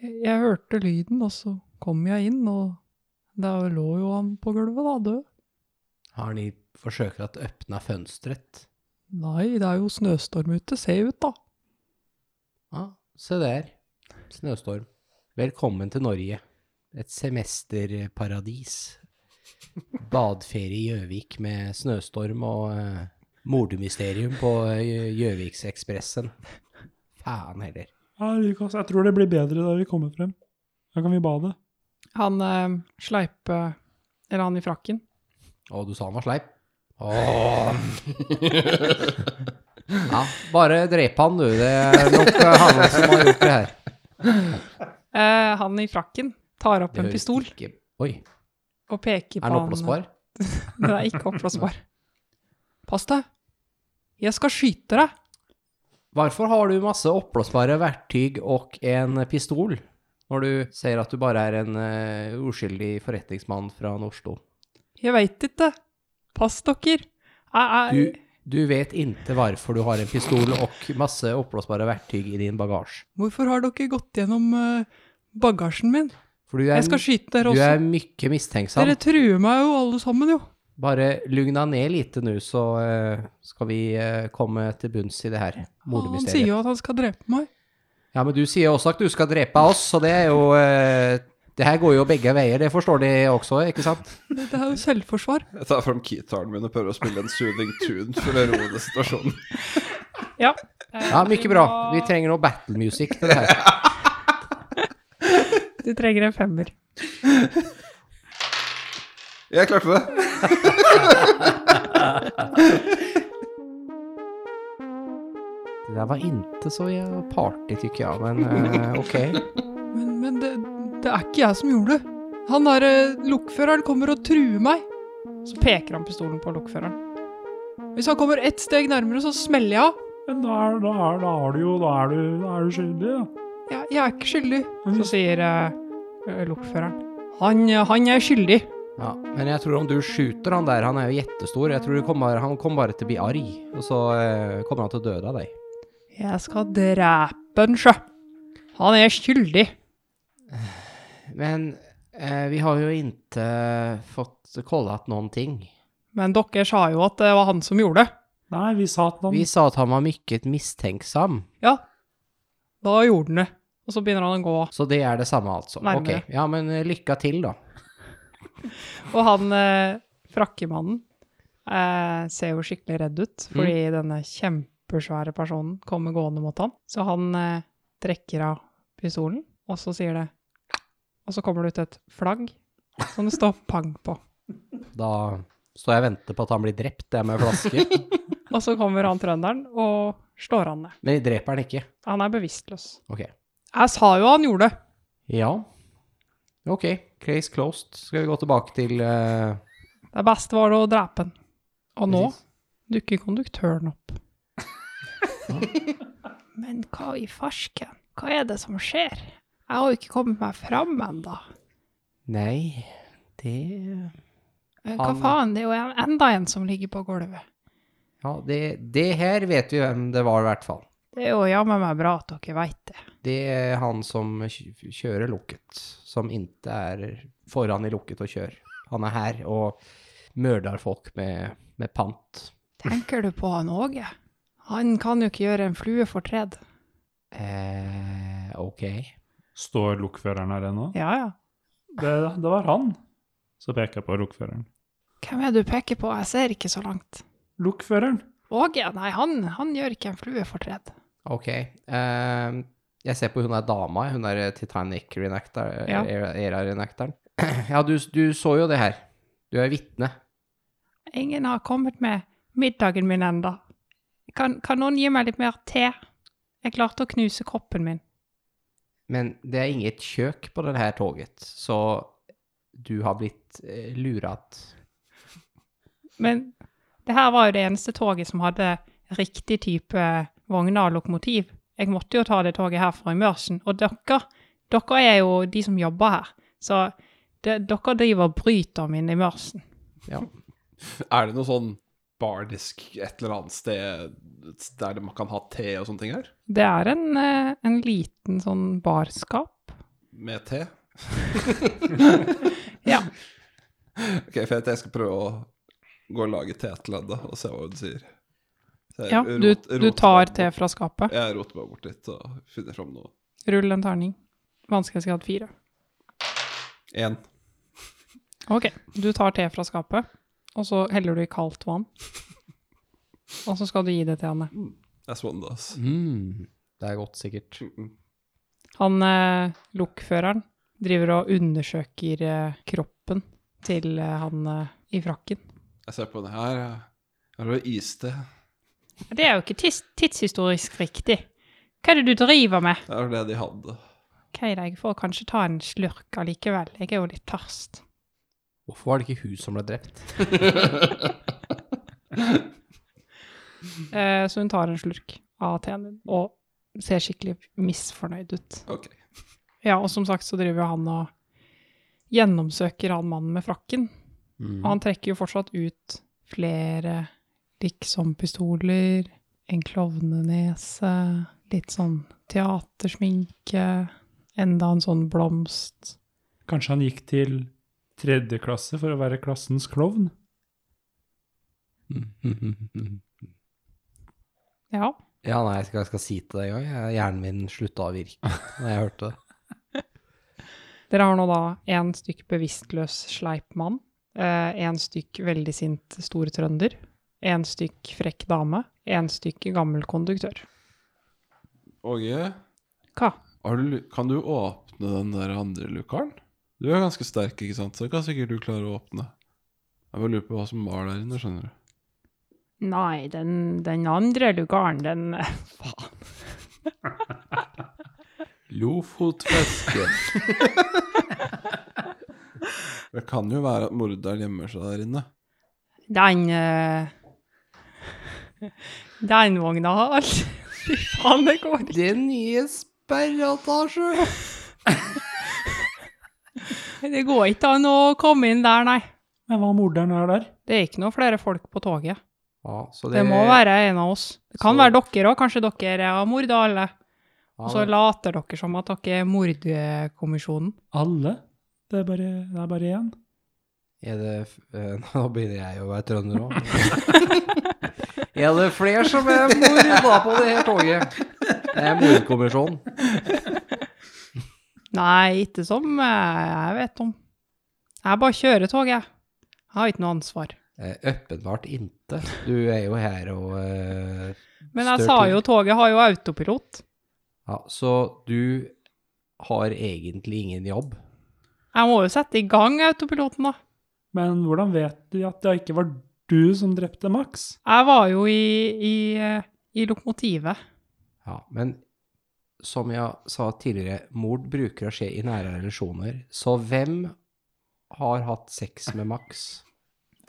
[SPEAKER 8] jeg. Jeg hørte lyden, og så kom jeg inn, og der lå jo han på gulvet, da, død.
[SPEAKER 3] Har ni forsøkt å öppna fönstret?
[SPEAKER 8] Nei, det er jo snøstorm ute. Se ut, da.
[SPEAKER 3] Ja, se der. Snøstorm. Velkommen til Norge. Et semesterparadis. Badferie i Gjøvik med snøstorm og eh, mordmysterium på eh, Gjøviksekspressen. Faen heller.
[SPEAKER 1] Ja, Lukas, altså, jeg tror det blir bedre da vi kommer frem. Da kan vi bade.
[SPEAKER 8] Han eh, sleipe Eller han i frakken.
[SPEAKER 3] Å, du sa han var sleip? Åh. ja, bare drep han, du. Det er nok eh, han som har gjort det her.
[SPEAKER 8] Eh, han i frakken tar opp
[SPEAKER 3] Det
[SPEAKER 8] en
[SPEAKER 3] høres
[SPEAKER 8] pistol
[SPEAKER 3] Ikke. Oi,
[SPEAKER 8] og peker
[SPEAKER 3] er
[SPEAKER 8] på
[SPEAKER 3] han
[SPEAKER 8] han.
[SPEAKER 3] oppblåsbar?
[SPEAKER 8] Den er ikke oppblåsbar. Pass deg. Jeg skal skyte deg.
[SPEAKER 3] Hvorfor har du masse oppblåsbare verktyg og en pistol når du sier at du bare er en eh, uskyldig forretningsmann fra Oslo?
[SPEAKER 8] Jeg veit ikke. Pass dere. Jeg,
[SPEAKER 3] Du,
[SPEAKER 8] jeg,
[SPEAKER 3] du vet ikke hvorfor du har en pistol og masse oppblåsbare verktyg i din bagasje.
[SPEAKER 8] hvorfor har dere gått gjennom eh, bagasjen min?
[SPEAKER 3] For du er,
[SPEAKER 8] Jeg skal skyte dere
[SPEAKER 3] du
[SPEAKER 8] også.
[SPEAKER 3] er mye mistenksom.
[SPEAKER 8] Dere truer meg jo alle sammen, jo.
[SPEAKER 3] Bare lugna ned lite nå, så eh, skal vi eh, komme til bunns i det her
[SPEAKER 8] Han sier
[SPEAKER 3] mordmysteriet.
[SPEAKER 8] jo at han skal drepe meg.
[SPEAKER 3] Ja, men du sier også at du skal drepe oss, så det er jo eh, Det her går jo begge veier, det forstår de også, ikke sant?
[SPEAKER 8] Det det er jo selvforsvar.
[SPEAKER 4] Jeg tar fram keytaren min og prøver å spille en soothing tune for å roe ned situasjonen.
[SPEAKER 2] Ja. eh,
[SPEAKER 3] Ja, mye
[SPEAKER 2] vi
[SPEAKER 3] bra.
[SPEAKER 2] må-
[SPEAKER 3] Vi trenger noe battle music til det her.
[SPEAKER 2] Du trenger en femmer.
[SPEAKER 4] Jeg klarte det.
[SPEAKER 3] Det der var inte så ja, party, tycker jag, men eh, okej.
[SPEAKER 5] Men, men det, det er ikke jeg som gjorde det. Han derre lokføreren kommer og truer meg.
[SPEAKER 2] Så peker han pistolen på lokføreren.
[SPEAKER 5] Hvis han kommer ett steg nærmere, så smeller jeg av.
[SPEAKER 1] Men da er, da er, da er du jo da er du, da er du skyldig, da.
[SPEAKER 5] Jeg, jeg er ikke skyldig.
[SPEAKER 1] Men
[SPEAKER 2] Så
[SPEAKER 1] hvis,
[SPEAKER 2] sier eh, lokføreren
[SPEAKER 5] Han, han er skyldig.
[SPEAKER 3] Ja, men jeg tror om du skjuter han der, han er jo jättestor, jeg tror du kommer, han kommer bare til å bli arg, og så eh, kommer han til å døde av deg.
[SPEAKER 5] Jeg skal drepe han, sjø. Han er skyldig.
[SPEAKER 3] Men eh, vi har jo inte fått kollat noen ting.
[SPEAKER 5] Men dere sa jo at det var han som gjorde det.
[SPEAKER 1] nei, vi sa at han
[SPEAKER 3] Vi sa at han var mycket misstänksam,
[SPEAKER 5] Da gjorde han det.
[SPEAKER 2] Og så begynner han å gå.
[SPEAKER 3] så det er det samme altså.
[SPEAKER 2] Nærmere.
[SPEAKER 3] Ok, ja, men eh, lykke til da.
[SPEAKER 2] Og han eh, frakkemannen eh, ser jo skikkelig redd
[SPEAKER 4] Mm.
[SPEAKER 2] ut, fordi denne kjempesvære personen kommer gående mot han. Så han eh, trekker av pistolen, og så sier det Og så kommer det ut et flagg som det står pang på.
[SPEAKER 3] Da står jeg og venter på at han blir drept, det er med flaske.
[SPEAKER 2] Og så kommer han trønderen og slår han ned.
[SPEAKER 3] men de dreper han ikke.
[SPEAKER 2] Han er bevisstløs.
[SPEAKER 3] Ok.
[SPEAKER 2] Jeg sa jo han gjorde det!
[SPEAKER 3] Ja. Ok, case closed. Skal vi gå tilbake til eh,
[SPEAKER 2] Det beste var det å drepe han. Og nå dukker konduktøren opp.
[SPEAKER 5] Men hva i farsken? Hva er det som skjer? Jeg har jo ikke kommet meg fram ennå.
[SPEAKER 3] Nei, det
[SPEAKER 5] Men Eh, hva
[SPEAKER 3] Han-
[SPEAKER 5] faen, det er jo en- enda en som ligger på gulvet.
[SPEAKER 3] Ja, det, det her vet vi hvem det var, i hvert fall.
[SPEAKER 5] Det er jo jammen meg bra at dere veit det.
[SPEAKER 3] Det er han som kj- kjører lukket, som ikke er foran i lukket og kjører. Han er her og mørder folk med, med pant.
[SPEAKER 5] Tenker du på han Åge? Han kan jo ikke gjøre en flue fortred.
[SPEAKER 3] Eh, ok.
[SPEAKER 6] Står lokføreren her ennå?
[SPEAKER 2] Ja, ja.
[SPEAKER 1] det, det var han.
[SPEAKER 6] Så peker jeg på lokføreren.
[SPEAKER 5] Hvem er det du peker på? Jeg ser ikke så langt.
[SPEAKER 1] Lokføreren.
[SPEAKER 5] Åge? Nei, han, han gjør ikke en flue fortred.
[SPEAKER 3] Ok. eh, jeg ser på hun der dama, hun eh, der Titanic reenactor,
[SPEAKER 2] Ja.
[SPEAKER 3] era- era reenactoren. Ja, du, du så jo det her. Du er vitne.
[SPEAKER 5] Ingen har kommet med middagen min enda. Kan, kan noen gi meg litt mer te? Jeg klarte å knuse koppen min.
[SPEAKER 3] Men det er inget kjøk på det her toget, så du har blitt eh, lurat.
[SPEAKER 2] Men det her var jo det eneste toget som hadde riktig type vogner og lokomotiv. Jeg måtte jo ta det toget her fra Immersion. Og dere, dere er jo de som jobber her. Så det, dere driver og bryter min Immersion.
[SPEAKER 4] Er det noe sånn bardisk et eller annet sted der man kan ha te og sånne ting her?
[SPEAKER 2] Det er en, eh, en liten sånn barskap.
[SPEAKER 4] Med te?
[SPEAKER 2] Ja.
[SPEAKER 4] Ok, for jeg- jeg skal prøve å gå og lage te til henne og se hva hun sier. Så jeg
[SPEAKER 2] Ja,
[SPEAKER 4] Eh, rot-
[SPEAKER 2] du, du
[SPEAKER 4] roter
[SPEAKER 2] tar
[SPEAKER 4] meg
[SPEAKER 2] te
[SPEAKER 4] bort-
[SPEAKER 2] fra skapet.
[SPEAKER 4] Jeg roter meg bort litt og finner fram noe.
[SPEAKER 2] Rull en terning. Vanskelighetsgrad fire.
[SPEAKER 4] Én.
[SPEAKER 2] Ok, du tar te fra skapet, og så heller du i kaldt vann. Og så skal du gi det til henne.
[SPEAKER 4] That's one, does.
[SPEAKER 3] Mm. Det er godt, sikkert.
[SPEAKER 2] Han eh, lokføreren driver og undersøker eh, kroppen til eh, han eh, i frakken.
[SPEAKER 4] Jeg ser på den her. Her er det iste.
[SPEAKER 2] Det er jo ikke tids tidshistorisk riktig. Hva er det du driver med?
[SPEAKER 4] Det er det de hadde.
[SPEAKER 2] Ok, da, jeg får kanskje ta en slurk allikevel. Jeg er jo litt tørst.
[SPEAKER 3] Hvorfor var det ikke hun som ble drept?
[SPEAKER 2] Eh, så hun tar en slurk av teen din og ser skikkelig misfornøyd ut.
[SPEAKER 4] Ok.
[SPEAKER 2] Ja, og som sagt så driver jo han og gjennomsøker han mannen med frakken. Og han trekker jo fortsatt ut flere liksom-pistoler, en klovnenese, litt sånn teatersminke, enda en sånn blomst.
[SPEAKER 1] Kanskje han gikk til tredje klasse for å være klassens klovn?
[SPEAKER 2] Ja,
[SPEAKER 3] Ja, nei, jeg skal, jeg skal si til deg en gang. jeg- Hjernen min slutta å virke da jeg hørte det.
[SPEAKER 2] dere har nå da en stykk bevisstløs sleip mann, eh, en stykk veldig sint store trønder,
[SPEAKER 8] én stykk frekk dame, én stykk gammel konduktør.
[SPEAKER 4] Åge,
[SPEAKER 8] Hva?
[SPEAKER 4] har du, lu- kan du åpne den der andre lukaren? Du er ganske sterk, ikke sant? Så det kan sikkert du klare å åpne. Jeg bare lurer på hva som var der inne, skjønner du.
[SPEAKER 8] Nei, den, den andre lugaren, den Faen.
[SPEAKER 4] Lofotfiske. det kan jo være at morderen gjemmer seg der inne.
[SPEAKER 8] Den eh, Den vogna har alt. Fy faen, det går ikke.
[SPEAKER 3] Den nye sperretasje!
[SPEAKER 8] Det går ikke an å komme inn der, nei.
[SPEAKER 1] Men hva om morderen er der?
[SPEAKER 8] Det er ikke noe flere folk på toget.
[SPEAKER 3] Ja, så
[SPEAKER 8] Det må være en av oss. Det kan
[SPEAKER 3] Så-
[SPEAKER 8] være dere òg. Kanskje dere har morda alle.
[SPEAKER 3] Ja,
[SPEAKER 8] Og så
[SPEAKER 3] det-
[SPEAKER 8] later dere som at dere er mordkommisjonen.
[SPEAKER 1] Alle? Det er bare, det er bare én?
[SPEAKER 3] Er det f- eh, Nå begynner jeg å være trønder òg. er det flere som er morda på det her toget? Det er mordkommisjonen.
[SPEAKER 8] Nei, ikke som eh, jeg vet om. Jeg bare kjører tog, jeg. Jeg har ikke noe ansvar.
[SPEAKER 3] Eh, Åpenbart inte. Du er jo her og eh,
[SPEAKER 8] Men jeg
[SPEAKER 3] stør
[SPEAKER 8] sa
[SPEAKER 3] ting.
[SPEAKER 8] jo toget har jo autopilot.
[SPEAKER 3] Ja, så du har egentlig ingen jobb?
[SPEAKER 8] Jeg må jo sette i gang autopiloten, da.
[SPEAKER 1] Men hvordan vet de at det ikke var du som drepte Max?
[SPEAKER 8] Jeg var jo i, i, eh, i lokomotivet.
[SPEAKER 3] Ja, men som jeg sa tidligere, mord bruker å skje i nære relasjoner. Så hvem har hatt sex med Max?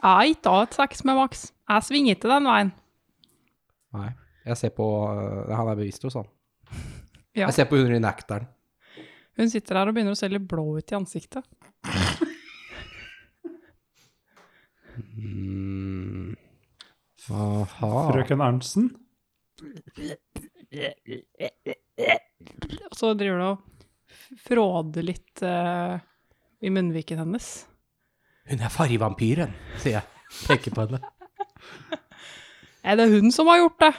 [SPEAKER 8] Jeg har ikke hatt sex med Max. Jeg svinger ikke den veien.
[SPEAKER 3] Nei. Jeg ser på eh, Han er bevisst hos han.
[SPEAKER 8] Ja.
[SPEAKER 3] Jeg ser på hun i nekteren.
[SPEAKER 8] Hun sitter der og begynner å se litt blå ut i ansiktet.
[SPEAKER 3] Mm. Aha.
[SPEAKER 1] Frøken Arntzen?
[SPEAKER 8] Og så driver du og fråder litt eh, i munnviken hennes.
[SPEAKER 3] Hun er fargevampyren, sier jeg. Peker på henne.
[SPEAKER 8] Er det hun som har gjort det?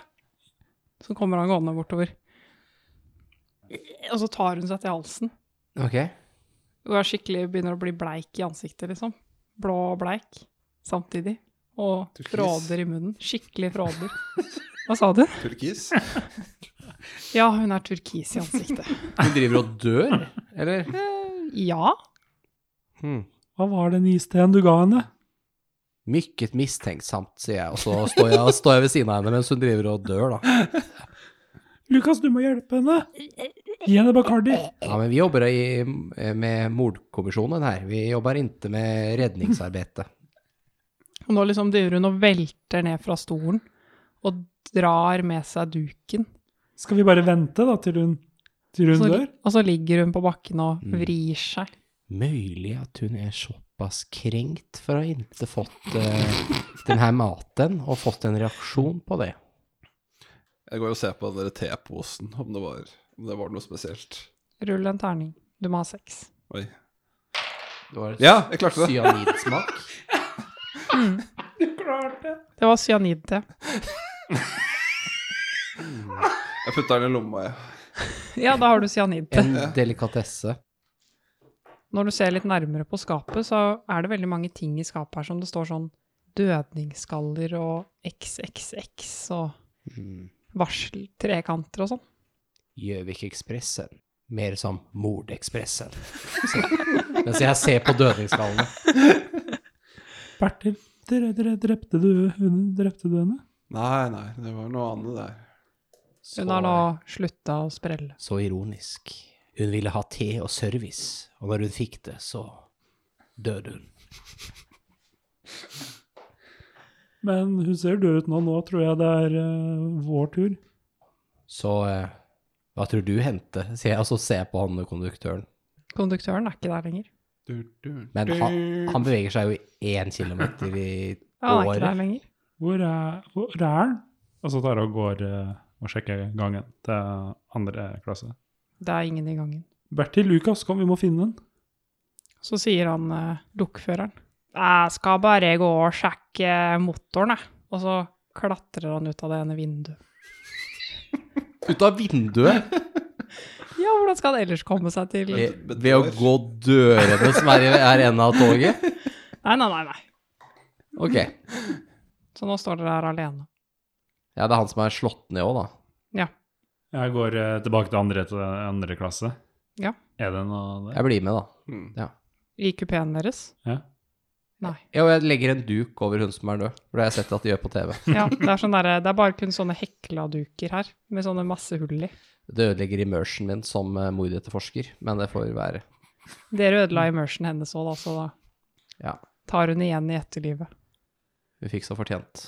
[SPEAKER 8] Så kommer han gående bortover. Og så tar hun seg til halsen.
[SPEAKER 3] Ok.
[SPEAKER 8] Hun er skikkelig begynner å bli bleik i ansiktet, liksom. Blå og bleik samtidig. Og
[SPEAKER 4] Turkis.
[SPEAKER 8] fråder i munnen. Skikkelig fråder. Hva sa du?
[SPEAKER 4] Turkis?
[SPEAKER 8] Ja, hun er turkis i ansiktet.
[SPEAKER 3] Hun driver og dør, eller?
[SPEAKER 8] Ja.
[SPEAKER 3] Hmm.
[SPEAKER 1] Hva var den isteen du ga henne?
[SPEAKER 3] Mykket mistenksomt, sier jeg, og så står jeg, står jeg ved siden av henne mens hun driver og dør, da.
[SPEAKER 1] Lukas, du må hjelpe henne! Gi henne Bacardi!
[SPEAKER 3] Ja, men vi jobber i, med mordkommisjonen her. Vi jobber ikke med redningsarbeidet.
[SPEAKER 8] Og nå liksom driver hun og velter ned fra stolen og drar med seg duken.
[SPEAKER 1] Skal vi bare vente da til hun, til hun
[SPEAKER 8] Så,
[SPEAKER 1] dør?
[SPEAKER 8] og så ligger hun på bakken og
[SPEAKER 3] Mm.
[SPEAKER 8] vrir seg.
[SPEAKER 3] Mulig at hun er såpass krenkt for å ha ikke fått eh, den her maten, og fått en reaksjon på det.
[SPEAKER 4] Jeg går og ser på den der teposen, om det var, om det var noe spesielt.
[SPEAKER 8] Rull en terning. Du må ha seks.
[SPEAKER 4] Oi.
[SPEAKER 3] Det var
[SPEAKER 4] Ja, jeg klarte det.
[SPEAKER 3] cyanidsmak.
[SPEAKER 8] Det var cyanidte.
[SPEAKER 4] Jeg putta den i lomma, jeg.
[SPEAKER 8] Ja, da har du cyanidte.
[SPEAKER 3] En delikatesse.
[SPEAKER 8] Når du ser litt nærmere på skapet, så er det veldig mange ting i skapet her som det står sånn dødningsskaller og XXX og
[SPEAKER 3] Mm.
[SPEAKER 8] varseltrekanter og sånn.
[SPEAKER 3] Gjøvikekspressen. Mer som Mordekspressen. Så- Mens jeg ser på dødningsskallene.
[SPEAKER 1] Bertil, dere, dere, drepte, du, hun, drepte du henne?
[SPEAKER 4] Nei, nei, det var noe annet der.
[SPEAKER 3] Så,
[SPEAKER 8] Hun har nå slutta å sprelle.
[SPEAKER 3] så ironisk. Hun ville ha te og service, og når hun fikk det, så døde hun.
[SPEAKER 1] Men hun ser død ut nå. Nå tror jeg det er eh, vår tur.
[SPEAKER 3] Så eh, hva tror du hendte? sier jeg, og så ser jeg på han konduktøren.
[SPEAKER 8] Konduktøren er ikke der lenger.
[SPEAKER 4] Du, du,
[SPEAKER 3] Men
[SPEAKER 4] du.
[SPEAKER 3] han, han beveger seg jo én kilometer i
[SPEAKER 8] Ja, han er ikke der
[SPEAKER 3] året.
[SPEAKER 8] lenger.
[SPEAKER 1] Hvor er, hvor er han?
[SPEAKER 6] Og så tar jeg og går eh, og sjekker gangen til andre klasse.
[SPEAKER 8] Det er ingen i gangen.
[SPEAKER 1] Bertil, Lukas, kom, vi må finne den.
[SPEAKER 8] Så sier han eh, lokføreren. Jeg skal bare gå og sjekke motoren, jeg. Og så klatrer han ut av det ene vinduet.
[SPEAKER 3] Ut av vinduet!
[SPEAKER 8] Ja, hvordan skal han ellers komme seg til Nei,
[SPEAKER 3] Ved ved å gå dørene som er i er enden av toget?
[SPEAKER 8] nei, nei. nei.
[SPEAKER 3] Ok.
[SPEAKER 8] Så nå står dere her alene.
[SPEAKER 3] Ja, det er han som er slått ned òg, da.
[SPEAKER 6] Jeg går eh, tilbake til andre, til andre klasse.
[SPEAKER 8] Ja.
[SPEAKER 6] Er det noe der?
[SPEAKER 3] Jeg blir med, da.
[SPEAKER 4] Hmm.
[SPEAKER 8] I kupeen deres.
[SPEAKER 6] Ja.
[SPEAKER 8] Nei.
[SPEAKER 3] Ja, og jeg legger en duk over hun som er død, for det har jeg sett at de gjør på TV.
[SPEAKER 8] Ja, det er, sånn derre- det er bare kun sånne hekla duker her, med sånne masse hull i.
[SPEAKER 3] Det ødelegger immersion min som eh, mordetterforsker, men det får være.
[SPEAKER 8] Dere ødela immersion hennes òg, da, så da
[SPEAKER 3] Ja,
[SPEAKER 8] tar hun igjen i etterlivet.
[SPEAKER 3] hun fikk så fortjent.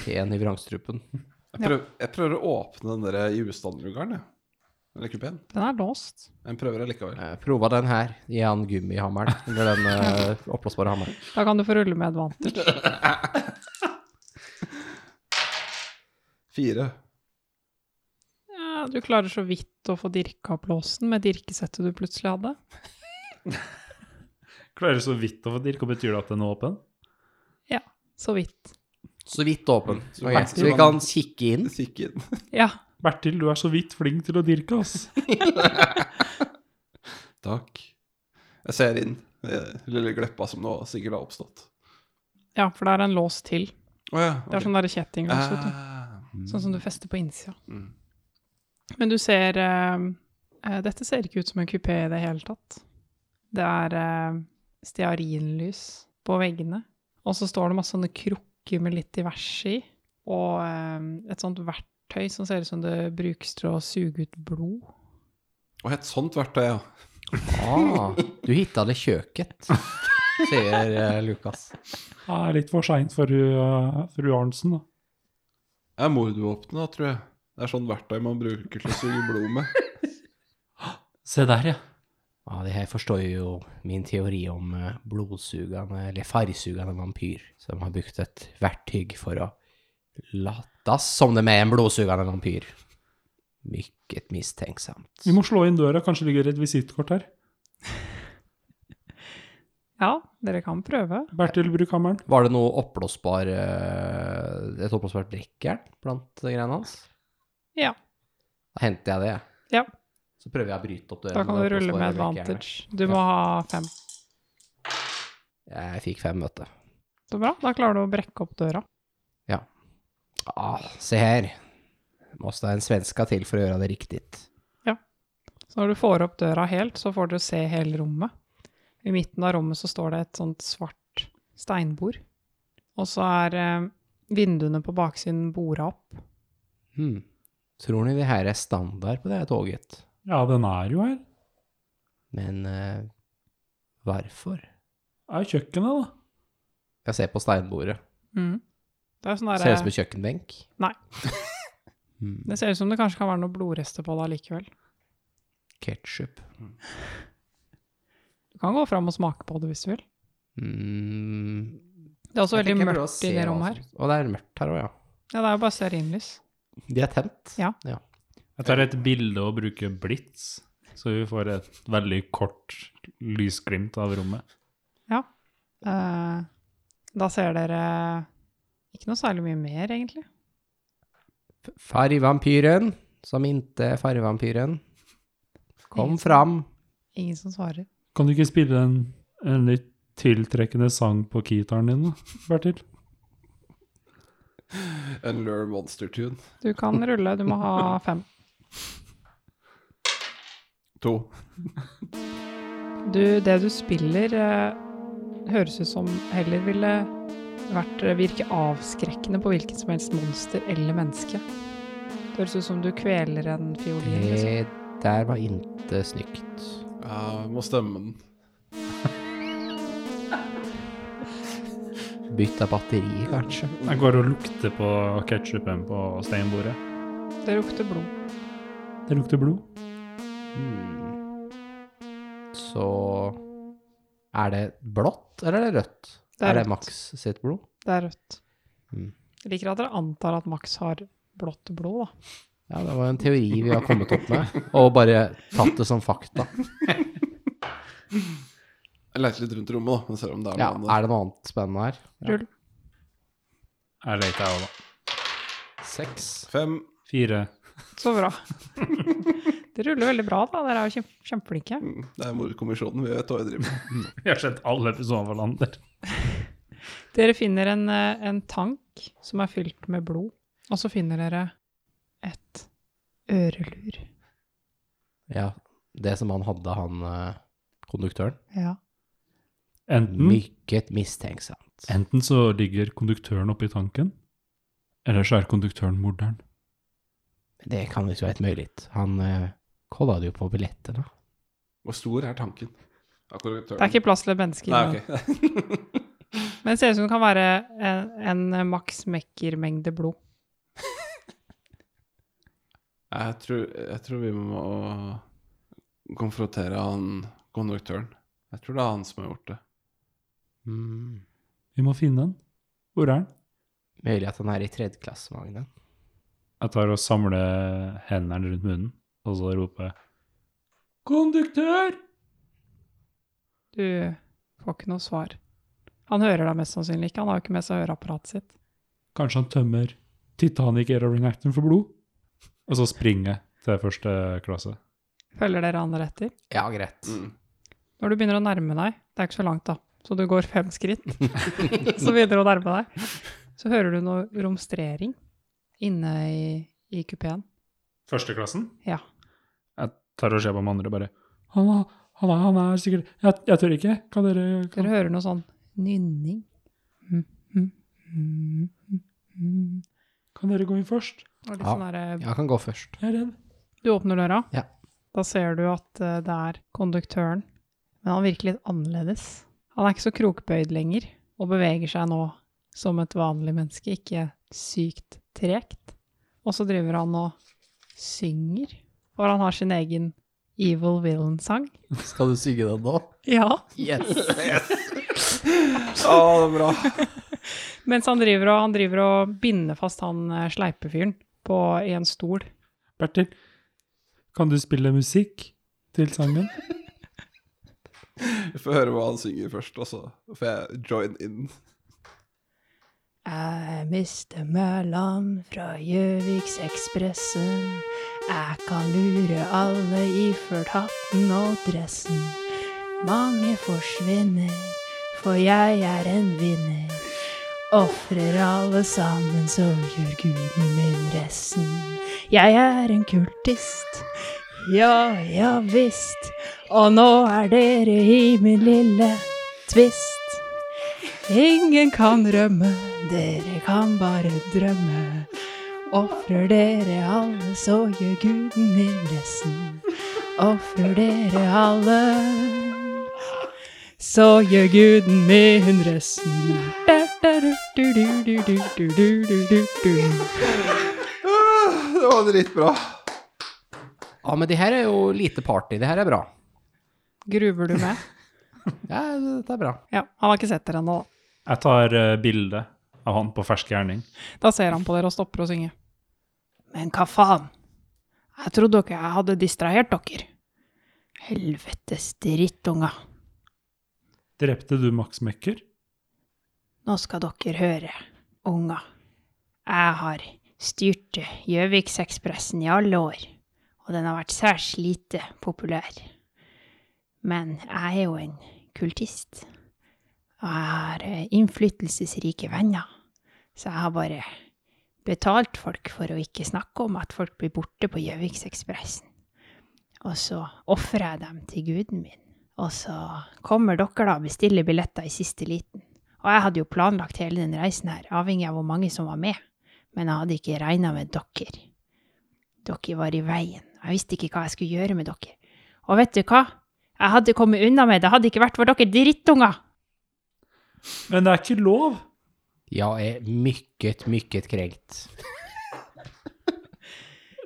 [SPEAKER 3] T-en i vrangstrupen.
[SPEAKER 4] Jeg, prøv, jeg prøver å åpne den der justanderlugaren, jeg. Eller kupeen.
[SPEAKER 8] Den er låst.
[SPEAKER 4] Jeg prøver allikevel.
[SPEAKER 3] Eh, Prova den her. Gi han gummihammeren, eller den eh, oppblåsbare hammeren.
[SPEAKER 8] Da kan du få rulle med advantage.
[SPEAKER 4] Fire.
[SPEAKER 8] Ja, du klarer så vidt å få dirka opp låsen med dirkesettet du plutselig hadde.
[SPEAKER 6] Klarer så vidt å få til. Hva betyr det at den er åpen?
[SPEAKER 8] Så vidt.
[SPEAKER 3] Så vidt åpen.
[SPEAKER 4] Så
[SPEAKER 3] Ok,
[SPEAKER 4] vidt
[SPEAKER 3] Så vi
[SPEAKER 4] åpen.
[SPEAKER 3] kan kikke inn.
[SPEAKER 4] Stikk inn.
[SPEAKER 8] Ja.
[SPEAKER 1] Bertil, du er så vidt flink til å dirke, ass.
[SPEAKER 4] Takk. Jeg ser inn. eh, Lille gleppa som nå sikkert har oppstått.
[SPEAKER 8] ja, for det er en lås til.
[SPEAKER 4] Å ja.
[SPEAKER 8] Det er
[SPEAKER 4] ok.
[SPEAKER 8] sånn derre kjettinglås, vet du.
[SPEAKER 4] Ah,
[SPEAKER 8] Sånn som du fester på innsida.
[SPEAKER 4] mm.
[SPEAKER 8] Men du ser eh, eh, Dette ser ikke ut som en kupé i det hele tatt. Det er eh, stearinlys på veggene, og så står det masse sånne krukker med litt diverse i, og eh, et sånt verktøy som ser ut som det brukes til å suge ut blod.
[SPEAKER 4] Og et sånt verktøy, ja.
[SPEAKER 3] Ah, du hitta det kjøket, sier eh, Lukas.
[SPEAKER 1] Det er litt for seint for hun, fru Arnsen, da.
[SPEAKER 4] Det er mordvåpenet, da, tror jeg. Det er sånn verktøy man bruker til å suge blod med.
[SPEAKER 1] Se der, ja.
[SPEAKER 3] Ja, Ah, det her forstår jo min teori om eh, blodsugende, eller fargsugende vampyr, som har brukt et verktøy for å lates som det er en blodsugende vampyr. Mykket mistenksomt.
[SPEAKER 1] Vi må slå inn døra, kanskje ligger
[SPEAKER 6] Mm.
[SPEAKER 1] et visittkort her.
[SPEAKER 8] Ja, dere kan prøve.
[SPEAKER 1] Bertil, bruk hammeren.
[SPEAKER 3] Var det noe oppblåsbar eh, Et oppblåsbart drikkjern blant eh, greiene hans?
[SPEAKER 8] Ja.
[SPEAKER 3] Da henter jeg det, jeg.
[SPEAKER 8] Ja.
[SPEAKER 3] Så prøver jeg å bryte opp det.
[SPEAKER 8] Da kan du
[SPEAKER 3] det
[SPEAKER 8] rulle med
[SPEAKER 3] oppblåsbare drikkjernet.
[SPEAKER 8] advantage. Du må ha fem.
[SPEAKER 3] Jeg fikk fem, vet du.
[SPEAKER 8] Så bra. Da klarer du å brekke opp døra.
[SPEAKER 3] Ah, se her. Måste en svenska til for å gjøre det riktig.
[SPEAKER 8] Så når du får opp døra helt, så får du se hele rommet. I midten av rommet så står det et sånt svart steinbord. Og så er eh, vinduene på baksiden bora opp.
[SPEAKER 3] Hmm. Tror ni det her er standard på det her toget?
[SPEAKER 1] Ja, den er jo her.
[SPEAKER 3] Men eh, hvorfor?
[SPEAKER 1] Det er jo kjøkkenet, da.
[SPEAKER 3] Jeg ser på steinbordet. Mm.
[SPEAKER 8] Det, er sånn
[SPEAKER 3] Ser ut som
[SPEAKER 8] der,
[SPEAKER 3] en kjøkkenbenk.
[SPEAKER 8] Nei.
[SPEAKER 3] hmm.
[SPEAKER 8] det ser ut som det kanskje kan være noen blodrester på det allikevel.
[SPEAKER 3] Ketchup.
[SPEAKER 8] Du kan gå fram og smake på det hvis du vil.
[SPEAKER 3] Mm.
[SPEAKER 8] Det er også
[SPEAKER 3] Jeg tenker
[SPEAKER 8] veldig
[SPEAKER 3] jeg prøver å
[SPEAKER 8] mørkt
[SPEAKER 3] se
[SPEAKER 8] i det
[SPEAKER 3] hva
[SPEAKER 8] rommet her.
[SPEAKER 3] som- Å, det er mørkt her òg, ja.
[SPEAKER 8] Ja, det er jo bare stearinlys.
[SPEAKER 3] De er tent.
[SPEAKER 8] Ja.
[SPEAKER 6] Jeg tar et bilde og bruker blits, så vi får et veldig kort lysglimt av rommet.
[SPEAKER 8] Eh, da ser dere ikke noe særlig mye mer, egentlig.
[SPEAKER 3] Fargevampyren, som inte er fargevampyren, kom
[SPEAKER 8] Ingen-
[SPEAKER 3] fram.
[SPEAKER 8] Ingen som svarer.
[SPEAKER 1] Kan du ikke spille en, en litt tiltrekkende sang på kitaren din, da, Bertil?
[SPEAKER 4] En Lure Monster Tune.
[SPEAKER 8] Du kan rulle, du må ha fem.
[SPEAKER 4] To.
[SPEAKER 8] Du, det du spiller, eh, høres ut som heller ville vært, eh, virke avskrekkende på hvilket som helst monster eller menneske. Det høres ut som du kveler en fiolin. Liksom.
[SPEAKER 3] Det Eh, der var inte snykt.
[SPEAKER 4] Ja, vi må stemme den.
[SPEAKER 3] Bytta batteri, kanskje.
[SPEAKER 6] Jeg går og lukter på ketsjupen på steinbordet.
[SPEAKER 8] Det lukter blod.
[SPEAKER 1] Det lukter blod.
[SPEAKER 3] Hmm. Så Er det blått, eller er det rødt?
[SPEAKER 8] Det er
[SPEAKER 3] er, det
[SPEAKER 8] rødt.
[SPEAKER 3] Max sitt blod?
[SPEAKER 8] Det er rødt.
[SPEAKER 3] Mm.
[SPEAKER 8] Jeg liker at dere antar at Max har blått blod, da.
[SPEAKER 3] Ja, det var en teori vi har kommet opp med, og bare tatt det som fakta.
[SPEAKER 4] Jeg leter litt rundt i rommet, da. og Ser om det er
[SPEAKER 3] Ja,
[SPEAKER 4] noe annet.
[SPEAKER 3] er det noe annet spennende her?
[SPEAKER 8] Rull.
[SPEAKER 6] Her leter jeg òg, da.
[SPEAKER 3] Seks.
[SPEAKER 4] Fem.
[SPEAKER 6] Fire.
[SPEAKER 8] Så bra. det ruller veldig bra, da. Dere er jo kjem- kjempeflinke.
[SPEAKER 4] Mm, Det er mordkommisjonen. Vi vet hva vi driver med.
[SPEAKER 6] Vi har sett alle episoder av Lander.
[SPEAKER 8] Dere finner en, eh, en tank som er fylt med blod, og så finner dere et ørelur.
[SPEAKER 3] Ja, det som han hadde, han eh, konduktøren.
[SPEAKER 8] Ja.
[SPEAKER 3] Mm.
[SPEAKER 6] Enten,
[SPEAKER 3] Mykket mistenksomt.
[SPEAKER 6] enten så ligger konduktøren oppi tanken, eller så er konduktøren morderen.
[SPEAKER 3] Det kan ikke være mulig. Han uh, kolla det jo på billettene.
[SPEAKER 4] Hvor stor er tanken?
[SPEAKER 8] Det er ikke plass til et menneske. i
[SPEAKER 4] Nei,
[SPEAKER 8] den.
[SPEAKER 4] ok.
[SPEAKER 8] Men det ser ut som det kan være en, en maks mekker-mengde blod.
[SPEAKER 4] jeg, tror, jeg tror vi må konfrontere han konduktøren. Jeg tror det er han som har gjort det.
[SPEAKER 6] Vi må finne den. Hvor er den?
[SPEAKER 3] Mulig at han er i tredje klasse, Magne.
[SPEAKER 6] Jeg tar og samler hendene rundt munnen, og så roper jeg Konduktør!
[SPEAKER 8] Du får ikke noe svar. Han hører deg mest sannsynlig ikke, han har jo ikke med seg høreapparatet sitt.
[SPEAKER 6] Kanskje han tømmer Titanic Aeroring Acton for blod? Og så springer jeg til første klasse.
[SPEAKER 8] Følger dere han etter?
[SPEAKER 3] Ja, greit.
[SPEAKER 4] Mm.
[SPEAKER 8] Når du begynner å nærme deg, det er ikke så langt da, så du går fem skritt, så begynner du å nærme deg, så hører du noe romstrering inne i, i kupeen.
[SPEAKER 6] Førsteklassen?
[SPEAKER 8] Ja.
[SPEAKER 6] Jeg tar og ser på de andre og bare han, er- han, er, han er sikkert jeg, jeg tør ikke. Kan dere kan...
[SPEAKER 8] Dere hører noe sånn nynning. Mm, Og
[SPEAKER 1] Kan dere gå inn først?
[SPEAKER 8] mm, litt
[SPEAKER 3] Ja.
[SPEAKER 8] sånn derre
[SPEAKER 3] Jeg kan gå først.
[SPEAKER 1] Jeg er redd.
[SPEAKER 8] Du åpner døra.
[SPEAKER 3] Ja.
[SPEAKER 8] Da ser du at eh, det er konduktøren. Men han virker litt annerledes. Han er ikke så krokbøyd lenger, og beveger seg nå som et vanlig menneske, ikke sykt tregt. Og så driver han og synger, for han har sin egen Evil Villain-sang.
[SPEAKER 3] Skal du synge den nå?
[SPEAKER 8] Ja.
[SPEAKER 3] Yes!
[SPEAKER 4] Å, det er bra.
[SPEAKER 8] Mens han driver og, han driver og binder fast han eh, sleipefyren på, i en stol.
[SPEAKER 1] Bertil, kan du spille musikk til sangen?
[SPEAKER 4] Vi får høre hva han synger først, og så får jeg join in.
[SPEAKER 2] Jeg mister Mæland fra Gjøviksekspressen. Jeg kan lure alle iført hatten og dressen. Mange forsvinner, for jeg er en vinner. Ofrer alle sammen, så gjør guden min resten. Jeg er en kultist. Ja, ja visst. Og nå er dere i min lille tvist. Ingen kan rømme, dere kan bare drømme. Ofrer dere alle, så gjør guden min resten. Ofrer dere alle, så gjør guden min resten. Da, da, du, du, du, du, du, du, du, du, du, du.
[SPEAKER 4] Ah, Det var dritbra.
[SPEAKER 3] Ja, men det her er jo lite party. Det her er bra.
[SPEAKER 8] Gruver du med?
[SPEAKER 3] Ja, det er bra.
[SPEAKER 8] Ja, han har ikke sett dere ennå, da.
[SPEAKER 6] Jeg tar uh, bilde av han på fersk gjerning.
[SPEAKER 8] Da ser han på dere og stopper å synge.
[SPEAKER 2] Men hva faen? Jeg trodde dere jeg hadde distrahert dere. Helvetes drittunger.
[SPEAKER 1] Drepte du Max Mekker?
[SPEAKER 2] Nå skal dere høre, unger. Jeg har styrt Gjøviksekspressen i alle år, og den har vært særs lite populær. Men jeg er jo en kultist, og jeg har eh, innflytelsesrike venner, så jeg har bare betalt folk for å ikke snakke om at folk blir borte på Gjøviksekspressen. Og så ofrer jeg dem til guden min, og så kommer dere da og bestiller billetter i siste liten. Og jeg hadde jo planlagt hele den reisen her, avhengig av hvor mange som var med. Men jeg hadde ikke regna med dere. Dere var i veien. Jeg visste ikke hva jeg skulle gjøre med dere. Og vet du hva? Jeg hadde kommet unna med det, hadde ikke vært for dere drittunger!
[SPEAKER 1] Men det er ikke lov!
[SPEAKER 3] Jeg er mykket, mykket krenkt.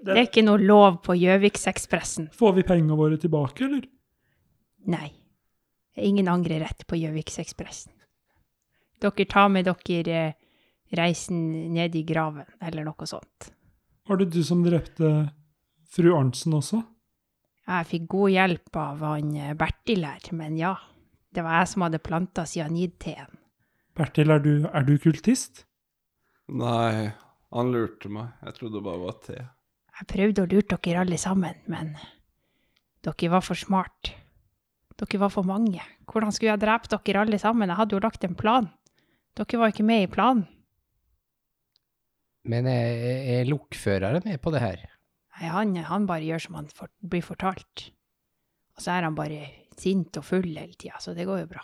[SPEAKER 2] Det er ikke noe lov på Gjøviksekspressen.
[SPEAKER 1] Får vi pengene våre tilbake, eller?
[SPEAKER 2] Nei. Det er ingen angrerett på Gjøviksekspressen. Dere tar med dere eh, reisen ned i graven, eller noe sånt.
[SPEAKER 1] Var det du som drepte fru Arntzen også?
[SPEAKER 2] Jeg fikk god hjelp av han eh, Bertil her, men ja. Det var jeg som hadde planta cyanidteen.
[SPEAKER 1] Bertil, er du, er du kultist?
[SPEAKER 4] Nei, han lurte meg. Jeg trodde det bare var te.
[SPEAKER 2] Jeg prøvde å lure dere alle sammen, men dere var for smart. Dere var for mange. Hvordan skulle jeg drepe dere alle sammen? Jeg hadde jo lagt en plan.
[SPEAKER 5] Dere var ikke med i planen.
[SPEAKER 3] Men er, er lokføreren med på det her?
[SPEAKER 5] Nei, han, han bare gjør som han for, blir fortalt. Og så er han bare sint og full hele tida, så det går jo bra.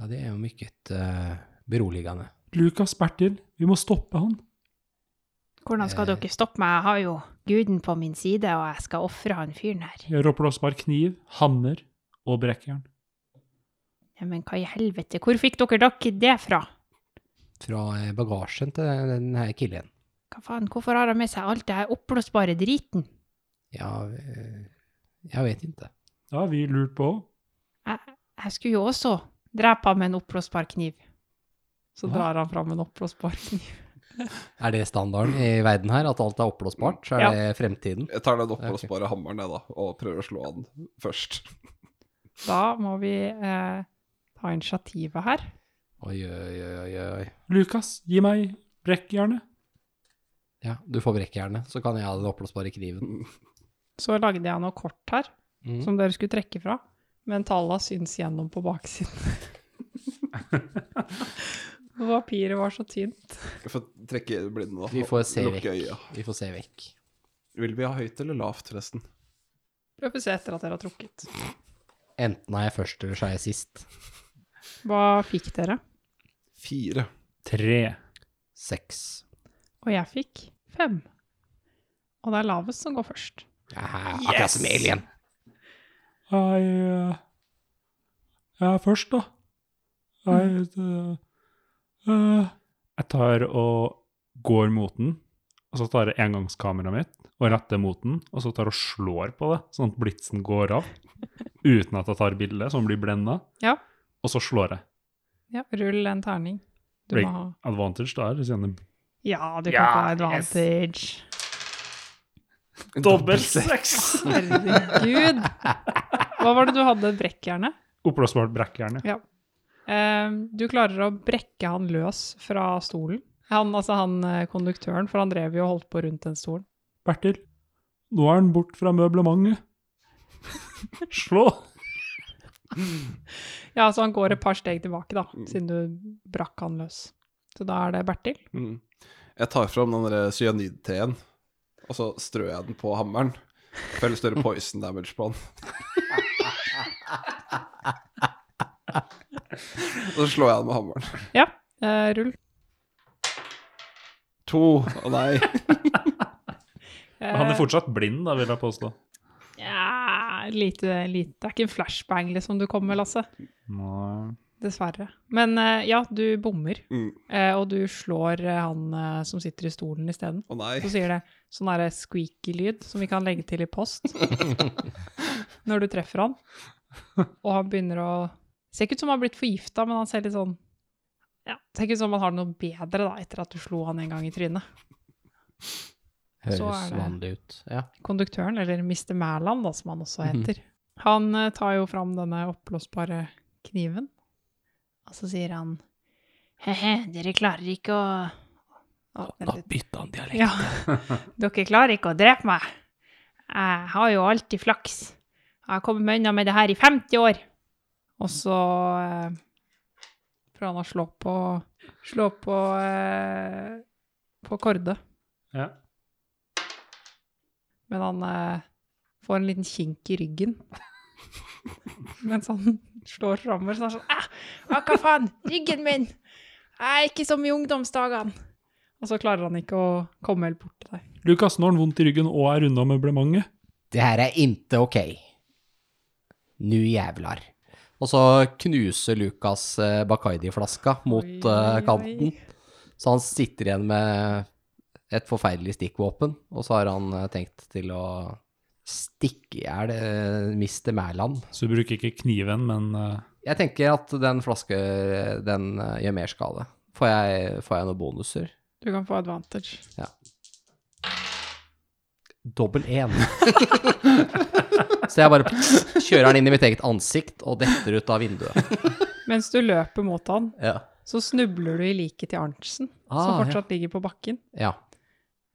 [SPEAKER 3] Ja, det er jo meget eh, beroligende.
[SPEAKER 1] Lukas Bertil, vi må stoppe han.
[SPEAKER 5] Hvordan skal
[SPEAKER 3] Eh.
[SPEAKER 5] dere stoppe meg? Jeg har jo guden på min side, og jeg skal ofre han fyren her.
[SPEAKER 1] Jeg har oppblåsbar kniv, hammer og brekkjern.
[SPEAKER 5] Ja, men hva i helvete, hvor fikk dere dere det fra?
[SPEAKER 3] Fra eh, bagasjen til den, den her killen.
[SPEAKER 5] Hva faen, hvorfor har han med seg alt det her oppblåsbare driten?
[SPEAKER 3] Ja, eh, jeg vet ikke.
[SPEAKER 1] Det har vi lurt på.
[SPEAKER 5] Jeg skulle jo også drepe han med en oppblåsbar kniv.
[SPEAKER 8] Så drar han fram en oppblåsbar kniv.
[SPEAKER 3] Er det standarden i verden her, at alt er oppblåsbart? Så er
[SPEAKER 8] Ja.
[SPEAKER 3] det fremtiden?
[SPEAKER 4] Jeg tar den oppblåsbare hammeren, jeg, da, og prøver å slå han først.
[SPEAKER 8] Da må vi eh, ta initiativet her.
[SPEAKER 3] Oi, oi, oi, oi, oi.
[SPEAKER 1] Lukas, gi meg brekkjernet.
[SPEAKER 3] Ja, du får brekkjernet, så kan jeg ha den oppblåsbare kniven.
[SPEAKER 8] Så lagde jeg noe kort her,
[SPEAKER 3] Mm.
[SPEAKER 8] som dere skulle trekke fra. Men talla syns gjennom på baksiden. Og Papiret var så tynt.
[SPEAKER 4] Jeg får trekke blindene, da.
[SPEAKER 3] Vi får se
[SPEAKER 4] og
[SPEAKER 3] vekk.
[SPEAKER 4] lukke øya.
[SPEAKER 3] Vi får se vekk.
[SPEAKER 4] Vil vi ha høyt eller lavt, forresten?
[SPEAKER 8] Prøv å se etter at dere har trukket.
[SPEAKER 3] Enten er jeg først, eller så er jeg sist.
[SPEAKER 8] Hva fikk dere?
[SPEAKER 4] Fire.
[SPEAKER 6] Tre.
[SPEAKER 3] Seks.
[SPEAKER 8] Og jeg fikk fem. Og det er lavest som går først.
[SPEAKER 3] Aha, Akkurat som alien.
[SPEAKER 1] Jeg, eh, jeg er først, da.
[SPEAKER 8] Mm.
[SPEAKER 1] Jeg eh, eh,
[SPEAKER 6] Jeg tar og går mot den, og så tar jeg engangskameraet mitt og retter mot den, og så tar jeg og slår på det, sånn at blitsen går av, uten at jeg tar bilde, så den blir blenda.
[SPEAKER 8] Ja.
[SPEAKER 6] Og så slår jeg.
[SPEAKER 8] Ja, rull en terning. Du
[SPEAKER 6] Ring.
[SPEAKER 8] må ha
[SPEAKER 6] Advantage da, eller siden det-
[SPEAKER 8] Ja, du kan
[SPEAKER 6] Ja,
[SPEAKER 8] få advantage.
[SPEAKER 1] Dobbel seks!
[SPEAKER 8] Herregud. Hva var det du hadde? Brekkjernet?
[SPEAKER 6] oppblåsbart brekkjerne.
[SPEAKER 8] Ehm, du klarer å brekke han løs fra stolen. Han, altså han eh, konduktøren, for han drev jo og holdt på rundt den stolen.
[SPEAKER 1] Bertil, nå er han bort fra møblementet. Slå!
[SPEAKER 8] Ja, så han går et par steg tilbake, da, siden du brakk han løs. Så da er det Bertil.
[SPEAKER 4] Mm. Jeg tar fram den der cyanidteen, og så strør jeg den på hammeren. Føler større poison damage på den. og så slår jeg den med hammeren.
[SPEAKER 8] Ja, eh, rull.
[SPEAKER 4] To. Å nei.
[SPEAKER 8] Eh,
[SPEAKER 6] Han er fortsatt blind, da, vil jeg påstå.
[SPEAKER 8] ja, lite, lite. Det er ikke en flashbang liksom du kommer med, Lasse.
[SPEAKER 6] Nei.
[SPEAKER 8] Dessverre. Men eh, ja, du bommer,
[SPEAKER 4] Mm.
[SPEAKER 8] eh, og du slår eh, han eh, som sitter i stolen isteden.
[SPEAKER 4] Å nei.
[SPEAKER 8] Så sier det sånn derre squeaky lyd som vi kan legge til i post når du treffer han. Og han begynner å Ser ikke ut som han har blitt forgifta, men han ser litt sånn ja, Ser ikke ut som han har det noe bedre da, etter at du slo han en gang i trynet.
[SPEAKER 3] Høres
[SPEAKER 8] Så er det-
[SPEAKER 3] vanlig ut. Ja.
[SPEAKER 8] Konduktøren, eller Mr. Mæland, da, som han også heter, han eh, tar jo fram denne oppblåsbare kniven.
[SPEAKER 5] Og så sier han He-he, dere klarer ikke å Å, vent litt.
[SPEAKER 3] bytta han dialekt.
[SPEAKER 5] Ja. Dere klarer ikke å drepe meg. Jeg har jo alltid flaks. Jeg har kommet meg unna med det her i 50 år.
[SPEAKER 8] Og så eh, prøver han å slå på Slå på eh, på Korde.
[SPEAKER 6] Ja.
[SPEAKER 8] Men han eh, får en liten kink i ryggen. Mens han slår framover, så er han sånn «Ah,
[SPEAKER 5] Å, hva faen? Ryggen min! Jeg er ikke som i ungdomsdagene.
[SPEAKER 8] Og så klarer han ikke å komme helt bort til deg.
[SPEAKER 1] Lukas, nå har han vondt i ryggen og er unna møblementet.
[SPEAKER 3] Det her er inte ok. Nu jævlar. Og så knuser Lukas eh, Bacardi-flaska mot
[SPEAKER 8] Oi,
[SPEAKER 3] eh,
[SPEAKER 8] oi,
[SPEAKER 3] kanten.
[SPEAKER 8] oi.
[SPEAKER 3] Så han sitter igjen med et forferdelig stikkvåpen, og så har han eh, tenkt til å stikke i hjel eh, Mr. Mæland.
[SPEAKER 6] Så du bruker ikke kniven, men eh,
[SPEAKER 3] Jeg tenker at den flaske, den eh, gjør mer skade. Får jeg, får jeg noen bonuser?
[SPEAKER 8] Du kan få advantage.
[SPEAKER 3] Dobbel én. så jeg bare kjører den inn i mitt eget ansikt og detter ut av vinduet.
[SPEAKER 8] Mens du løper mot han,
[SPEAKER 3] Ja.
[SPEAKER 8] så snubler du i liket til Arntzen, som
[SPEAKER 3] Ah, ja.
[SPEAKER 8] fortsatt ligger på bakken,
[SPEAKER 3] ja.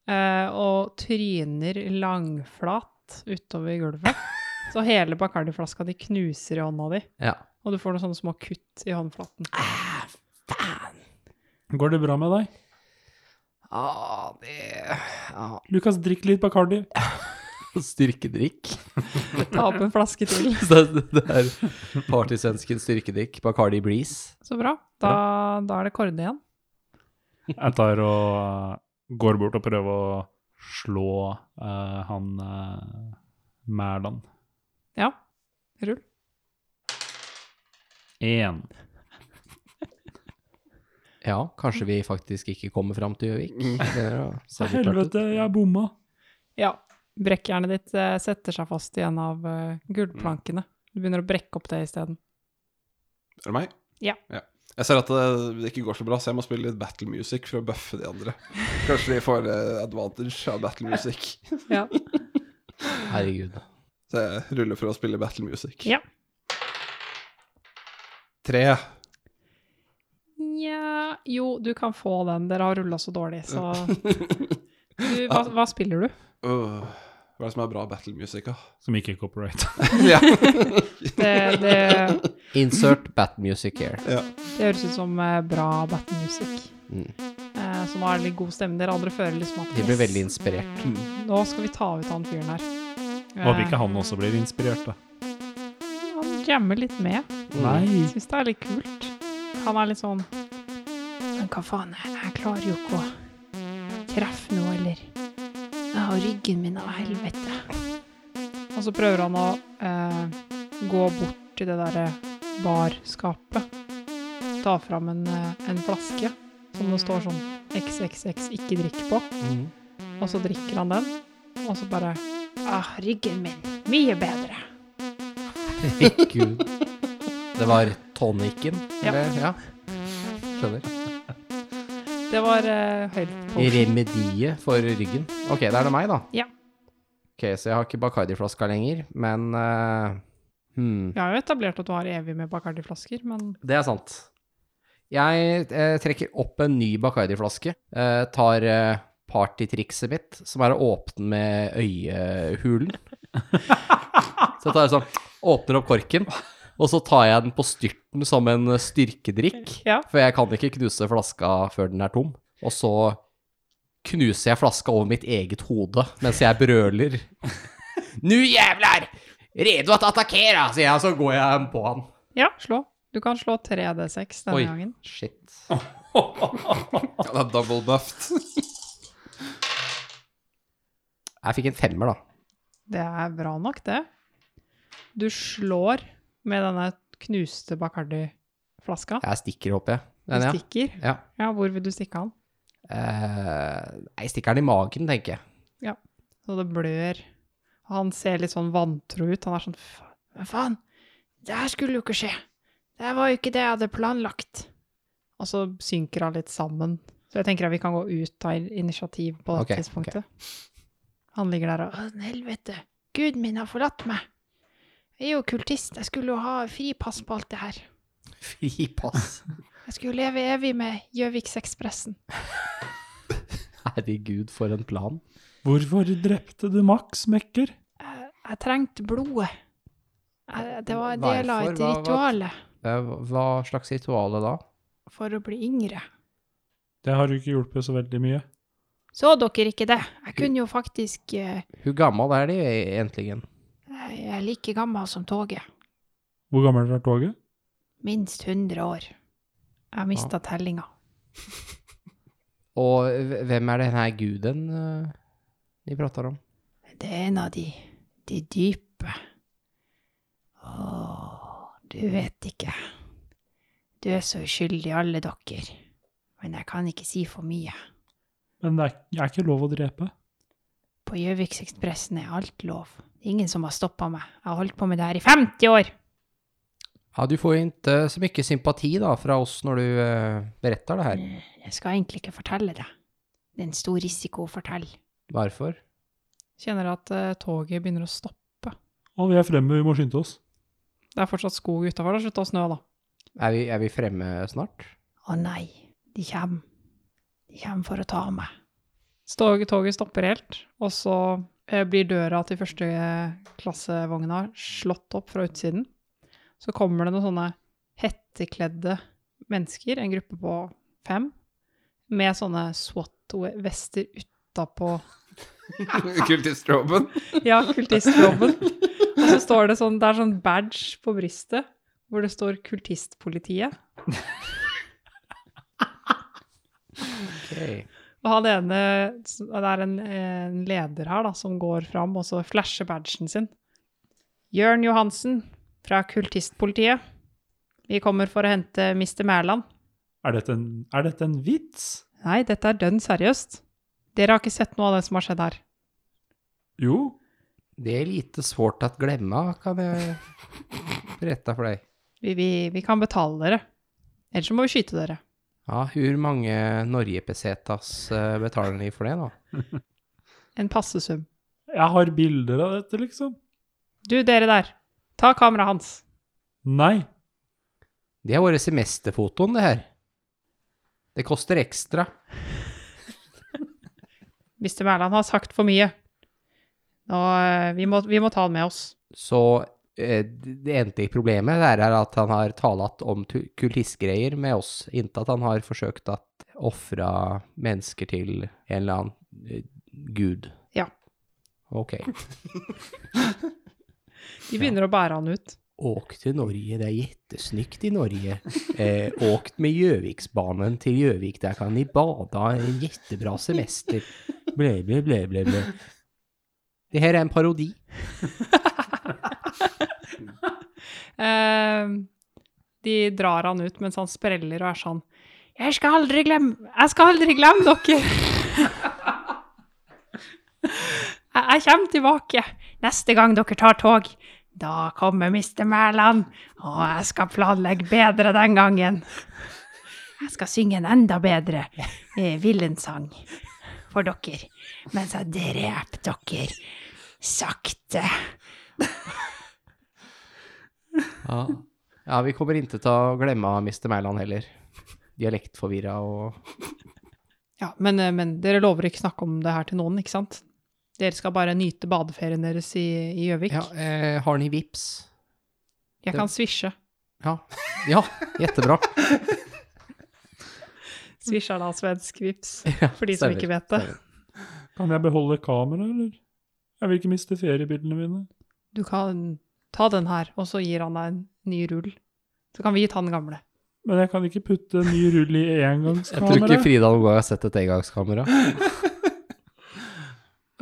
[SPEAKER 8] eh, og tryner langflat utover gulvet. Så hele Bacardi-flaska di knuser i hånda di,
[SPEAKER 3] Ja.
[SPEAKER 8] og du får noen sånne små kutt i håndflaten.
[SPEAKER 1] Går det bra med deg?
[SPEAKER 3] Ah, det ah,
[SPEAKER 1] Lukas, drikk litt Bacardi.
[SPEAKER 3] Styrkedrikk.
[SPEAKER 8] Ta opp en flaske til.
[SPEAKER 3] Så det det er partysvenskens styrkedrikk. Bacardi Breeze.
[SPEAKER 8] Så bra. Da, da er det Kårde igjen.
[SPEAKER 6] Jeg tar og eh, går bort og prøver å slå eh, han eh, Mæland.
[SPEAKER 8] Ja. Rull.
[SPEAKER 6] Én.
[SPEAKER 3] Ja, kanskje vi faktisk ikke kommer fram til Gjøvik. Begynner å se litt rart ut.
[SPEAKER 1] Helvete, jeg bomma.
[SPEAKER 8] Ja. Brekkjernet ditt eh, setter seg fast igjen av eh, gulvplankene. Du begynner å brekke opp det isteden.
[SPEAKER 4] Er det meg?
[SPEAKER 8] Ja.
[SPEAKER 4] Jeg ser at det, det ikke går så bra, så jeg må spille litt battle music for å bøffe de andre. Kanskje de får eh, advantage av battle music.
[SPEAKER 8] Ja.
[SPEAKER 3] Herregud.
[SPEAKER 4] Så jeg ruller for å spille battle music.
[SPEAKER 8] Ja.
[SPEAKER 4] Tre.
[SPEAKER 8] Nja Jo, du kan få den. Dere har rulla så dårlig, så du, hva, hva spiller du?
[SPEAKER 4] Øh, hva er det som er bra battle music, da?
[SPEAKER 6] Som ikke er copyright.
[SPEAKER 4] ja.
[SPEAKER 8] Det, det,
[SPEAKER 3] Insert bat music here.
[SPEAKER 8] det høres ut som eh, bra battle-musikk.
[SPEAKER 3] Mm.
[SPEAKER 8] Eh, så nå er det litt god stemning. Dere andre føler liksom at
[SPEAKER 3] De blir
[SPEAKER 8] yes,
[SPEAKER 3] veldig inspirert.
[SPEAKER 8] Nå skal vi ta ut han fyren her.
[SPEAKER 6] Håper ikke han også blir inspirert, da.
[SPEAKER 8] Eh, Han jammer litt med.
[SPEAKER 1] Mm.
[SPEAKER 6] Nei.
[SPEAKER 8] Syns det er litt kult. Han er litt sånn
[SPEAKER 2] Men hva faen, jeg, jeg klarer jo ikke å treffe noe, eller Jeg har ryggen min av helvete.
[SPEAKER 8] Og så prøver han å eh, gå bort til det derre barskapet. Ta fram en, eh, en flaske som det står sånn XXX ikke drikk på.
[SPEAKER 3] Mm.
[SPEAKER 8] Og så drikker han den, og så bare
[SPEAKER 2] Ah, ryggen min. Mye bedre.
[SPEAKER 3] Herregud. Det var tonicen,
[SPEAKER 8] Ja.
[SPEAKER 3] eller? Ja. Skjønner.
[SPEAKER 8] Det var eh, høyt på.
[SPEAKER 3] Remediet for ryggen. Ok, da er det meg, da.
[SPEAKER 8] Ja.
[SPEAKER 3] Ok, så jeg har ikke Bacardi-flaska lenger, men eh, hmm.
[SPEAKER 8] Vi har jo etablert at du har evig med Bacardi-flasker, men
[SPEAKER 3] Det er sant. Jeg eh, trekker opp en ny Bacardi-flaske, eh, tar eh, partytrikset mitt, som er å åpne med øyehulen. Så jeg tar sånn, åpner opp korken, og så tar jeg den på styrten som en styrkedrikk,
[SPEAKER 8] Ja.
[SPEAKER 3] for jeg kan ikke knuse flaska før den er tom. Og så knuser jeg flaska over mitt eget hode mens jeg brøler. «Nu jævlar! Redo at attackera!» sier jeg, og så går jeg på han.
[SPEAKER 8] ja, slå. Du kan slå 3D6 denne
[SPEAKER 3] Oi,
[SPEAKER 8] gangen.
[SPEAKER 3] shit.
[SPEAKER 4] ja, det er double buffed.
[SPEAKER 3] Jeg fikk en femmer, da.
[SPEAKER 8] Det er bra nok, det. Du slår med denne knuste Bacardi-flaska.
[SPEAKER 3] Jeg stikker, håper jeg.
[SPEAKER 8] Du
[SPEAKER 3] Den, ja.
[SPEAKER 8] stikker.
[SPEAKER 3] Ja.
[SPEAKER 8] Ja, hvor vil du stikke han?
[SPEAKER 3] Eh, nei, stikker den i magen, tenker jeg.
[SPEAKER 8] Så det blør. Og Han ser litt sånn vantro ut. Han er sånn "Fa-
[SPEAKER 2] Men faen, det her skulle jo ikke skje. Det her var jo ikke det jeg hadde planlagt.
[SPEAKER 8] Og så synker han litt sammen. Så jeg tenker at vi kan gå ut av initiativ på dette
[SPEAKER 3] Ok,
[SPEAKER 8] tidspunktet. Han ligger der og
[SPEAKER 2] Å, helvete. Gud min har forlatt meg. Jeg er jo kultist. Jeg skulle jo ha fripass på alt det her.
[SPEAKER 3] Fripass.
[SPEAKER 2] Jeg skulle jo leve evig med Gjøviksekspressen.
[SPEAKER 3] Herregud, for en plan.
[SPEAKER 1] Hvorfor drepte du Max, Mekker?
[SPEAKER 2] Jeg, jeg trengte blodet. Jeg, det var en del av
[SPEAKER 3] Hvorfor?
[SPEAKER 2] et
[SPEAKER 3] Hva- hva-
[SPEAKER 2] ritualet
[SPEAKER 3] Eh, hva slags ritual da?
[SPEAKER 2] for å bli yngre.
[SPEAKER 1] Det har jo ikke hjulpet så veldig mye.
[SPEAKER 2] Så dere ikke det? Jeg kunne jo faktisk eh,
[SPEAKER 3] Hvor gammel er de egentlig?
[SPEAKER 2] Jeg er like gammel som toget.
[SPEAKER 1] Hvor gammelt er toget?
[SPEAKER 2] Minst 100 år. Jeg har mista tellinga.
[SPEAKER 3] Og hv- hvem er denne guden eh, de prater om?
[SPEAKER 2] Det er en av de, de dype. Åh, du vet ikke. Du er så uskyldig, alle dere. Men jeg kan ikke si for mye.
[SPEAKER 1] Men det er, det er ikke lov å drepe.
[SPEAKER 2] På Gjøviksekspressen er alt lov. Det er ingen som har stoppa meg. Jeg har holdt på med det her i 50 år!
[SPEAKER 3] Ja, du får jo ikke så mye sympati da, fra oss når du eh, beretter det her.
[SPEAKER 2] Jeg skal egentlig ikke fortelle det. Det er en stor risiko å fortelle.
[SPEAKER 3] Hvorfor?
[SPEAKER 8] kjenner at eh, toget begynner å stoppe.
[SPEAKER 1] Og vi er fremme, vi må skynde oss.
[SPEAKER 8] Det er fortsatt skog utafor. Det har slutta å snø, da.
[SPEAKER 3] Er vi, er vi fremme snart?
[SPEAKER 2] Å nei, de kommer. De kommer for å ta meg.
[SPEAKER 8] Toget, toget stopper helt, og så eh, blir døra til første eh, klassevogna slått opp fra utsiden. Så kommer det noen sånne hettekledde mennesker, en gruppe på fem, Med sånne SWAT-vester utapå
[SPEAKER 4] Kultistroben.
[SPEAKER 8] Ja, kultistjobben. Og så står det sånn, det er sånn badge på brystet, hvor det står kultistpolitiet. Og han ene, det er en, en leder her da, som går fram og så flasher badgen sin. Jørn Johansen fra kultistpolitiet. Vi kommer for å hente Mr. Mæland.
[SPEAKER 6] Er dette en, er dette en vits?
[SPEAKER 8] Nei, dette er dønn seriøst. Dere har ikke sett noe av det som har skjedd her.
[SPEAKER 6] Jo.
[SPEAKER 3] Det er lite svårt at glemme, kan jeg berette for deg.
[SPEAKER 8] Vi, vi, vi kan betale dere. Ellers så må vi skyte dere.
[SPEAKER 3] Ja, hvor mange Norge-pesetas eh, betaler de for det nå?
[SPEAKER 8] En passesum.
[SPEAKER 6] Jeg har bilder av dette, liksom.
[SPEAKER 8] Du, dere der. Ta kameraet hans.
[SPEAKER 6] Nei.
[SPEAKER 3] Det er våre semesterfotoen, det her. Det koster ekstra.
[SPEAKER 8] Mr. Mæland har sagt for mye. Nå, eh, vi, må, vi må ta han med oss.
[SPEAKER 3] Så eh, det eneste problemet der er at han har talat om tu- kultistgreier med oss, inntil at han har forsøkt å ofre mennesker til en eller annen eh, gud.
[SPEAKER 8] Ja.
[SPEAKER 3] Ok.
[SPEAKER 8] De begynner å bære han ut.
[SPEAKER 3] Åk til Norge, det er jettesnykt i Norge. Eh, åk med Gjøviksbanen til Gjøvik, der kan de bade, ha en jettebra semester. Ble, ble, ble, ble, ble. Det her er en parodi.
[SPEAKER 8] Eh,
[SPEAKER 2] Ehm,
[SPEAKER 8] de drar han ut mens han spreller og er sånn
[SPEAKER 2] Jeg skal aldri glemme Jeg skal aldri glemme dere! jeg, jeg kommer tilbake neste gang dere tar tog. Da kommer Mr. Mæland, og jeg skal planlegge bedre den gangen. Jeg skal synge en enda bedre eh, villensang for dere, mens jeg dreper dere sakte.
[SPEAKER 3] Ja. ja, vi kommer ikke til å glemme Mr. Mæland heller. Dialektforvirra og
[SPEAKER 8] Ja, men, eh, men dere lover ikke snakke om det her til noen, ikke sant? Dere skal bare nyte badeferien deres i i Gjøvik.
[SPEAKER 3] Ja, eh, har ni vips?
[SPEAKER 8] Jeg kan svisje.
[SPEAKER 3] Ja. Ja, jettebra.
[SPEAKER 8] Svisje er da svensk vips,
[SPEAKER 3] Ja,
[SPEAKER 8] for de som
[SPEAKER 3] stemmer.
[SPEAKER 8] ikke vet det.
[SPEAKER 6] Kan jeg beholde kameraet, eller? Jeg vil ikke miste feriebildene mine.
[SPEAKER 8] Du kan ta den her, og så gir han deg en ny rull. Så kan vi ta den gamle.
[SPEAKER 6] Men jeg kan ikke putte en ny rull i
[SPEAKER 3] Jeg tror ikke
[SPEAKER 6] engangskameraet.
[SPEAKER 3] Frida noen gang har sett et engangskamera.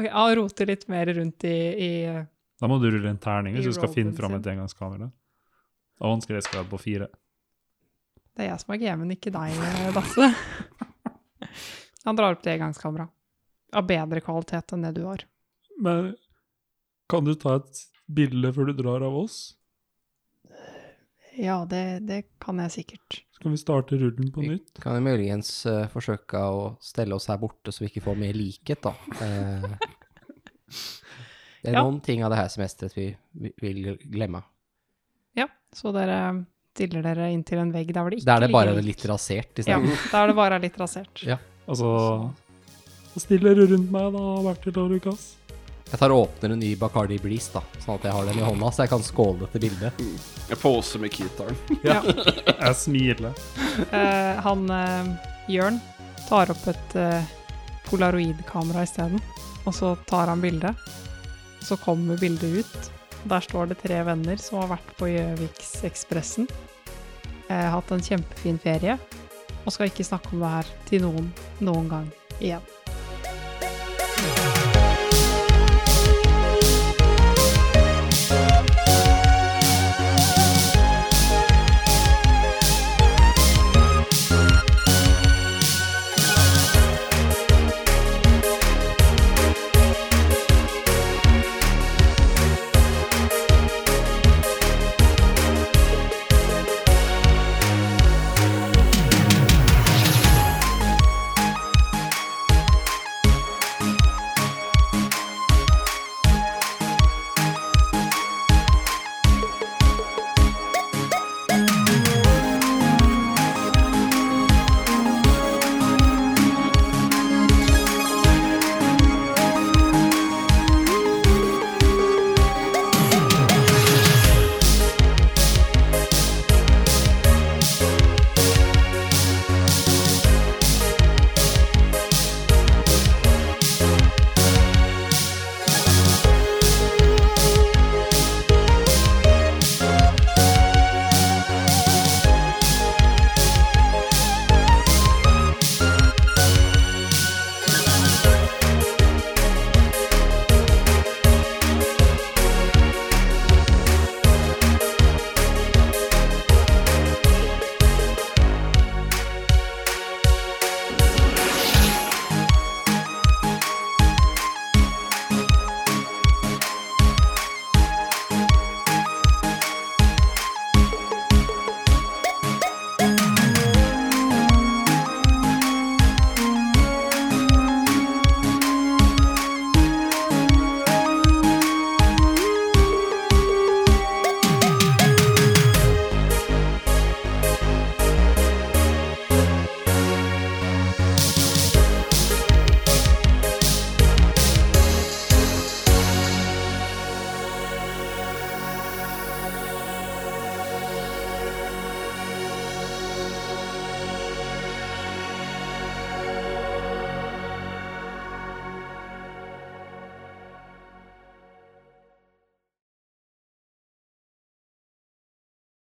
[SPEAKER 8] Ok, Han roter litt mer rundt i, i
[SPEAKER 6] Da må du rulle en terning hvis
[SPEAKER 8] I
[SPEAKER 6] du skal finne
[SPEAKER 8] rollen
[SPEAKER 6] fram
[SPEAKER 8] sin.
[SPEAKER 6] et engangskamera. Og vanskelighetsgrad på fire.
[SPEAKER 8] Det er jeg som er gamen, ikke deg, eh, Basse. Han drar opp det engangskameraet. Av bedre kvalitet enn det du har.
[SPEAKER 6] Men kan du ta et bilde før du drar av oss?
[SPEAKER 8] Ja, det, det kan jeg sikkert.
[SPEAKER 6] Så kan vi starte rullen på
[SPEAKER 3] Vi
[SPEAKER 6] nytt.
[SPEAKER 3] kan jo muligens eh, forsøke å stelle oss her borte, så vi ikke får mer likhet, da. Eh, det er
[SPEAKER 8] Ja.
[SPEAKER 3] noen ting av det her semesteret vi vi- vil glemme.
[SPEAKER 8] Ja, så dere stiller dere inntil en vegg der hvor det ikke
[SPEAKER 3] Da er det bare
[SPEAKER 8] ligger
[SPEAKER 3] litt rasert i
[SPEAKER 8] Ja,
[SPEAKER 3] stedet.
[SPEAKER 8] da er det bare litt rasert.
[SPEAKER 3] Ja.
[SPEAKER 6] Altså Stiller du rundt meg, da, Bertil og Lukas?
[SPEAKER 3] Jeg tar og åpner en ny Bacardi Breeze, da, sånn at jeg har den i hånda, så jeg kan skåle til bildet.
[SPEAKER 4] Jeg poser med keytaren.
[SPEAKER 6] Jeg smiler.
[SPEAKER 8] Eh, han uh, Jørn tar opp et eh, polaroidkamera isteden, og så tar han bildet. Så kommer bildet ut. Der står det tre venner som har vært på Gjøviksekspressen. eh, hatt en kjempefin ferie, og skal ikke snakke om det her til noen noen gang igjen.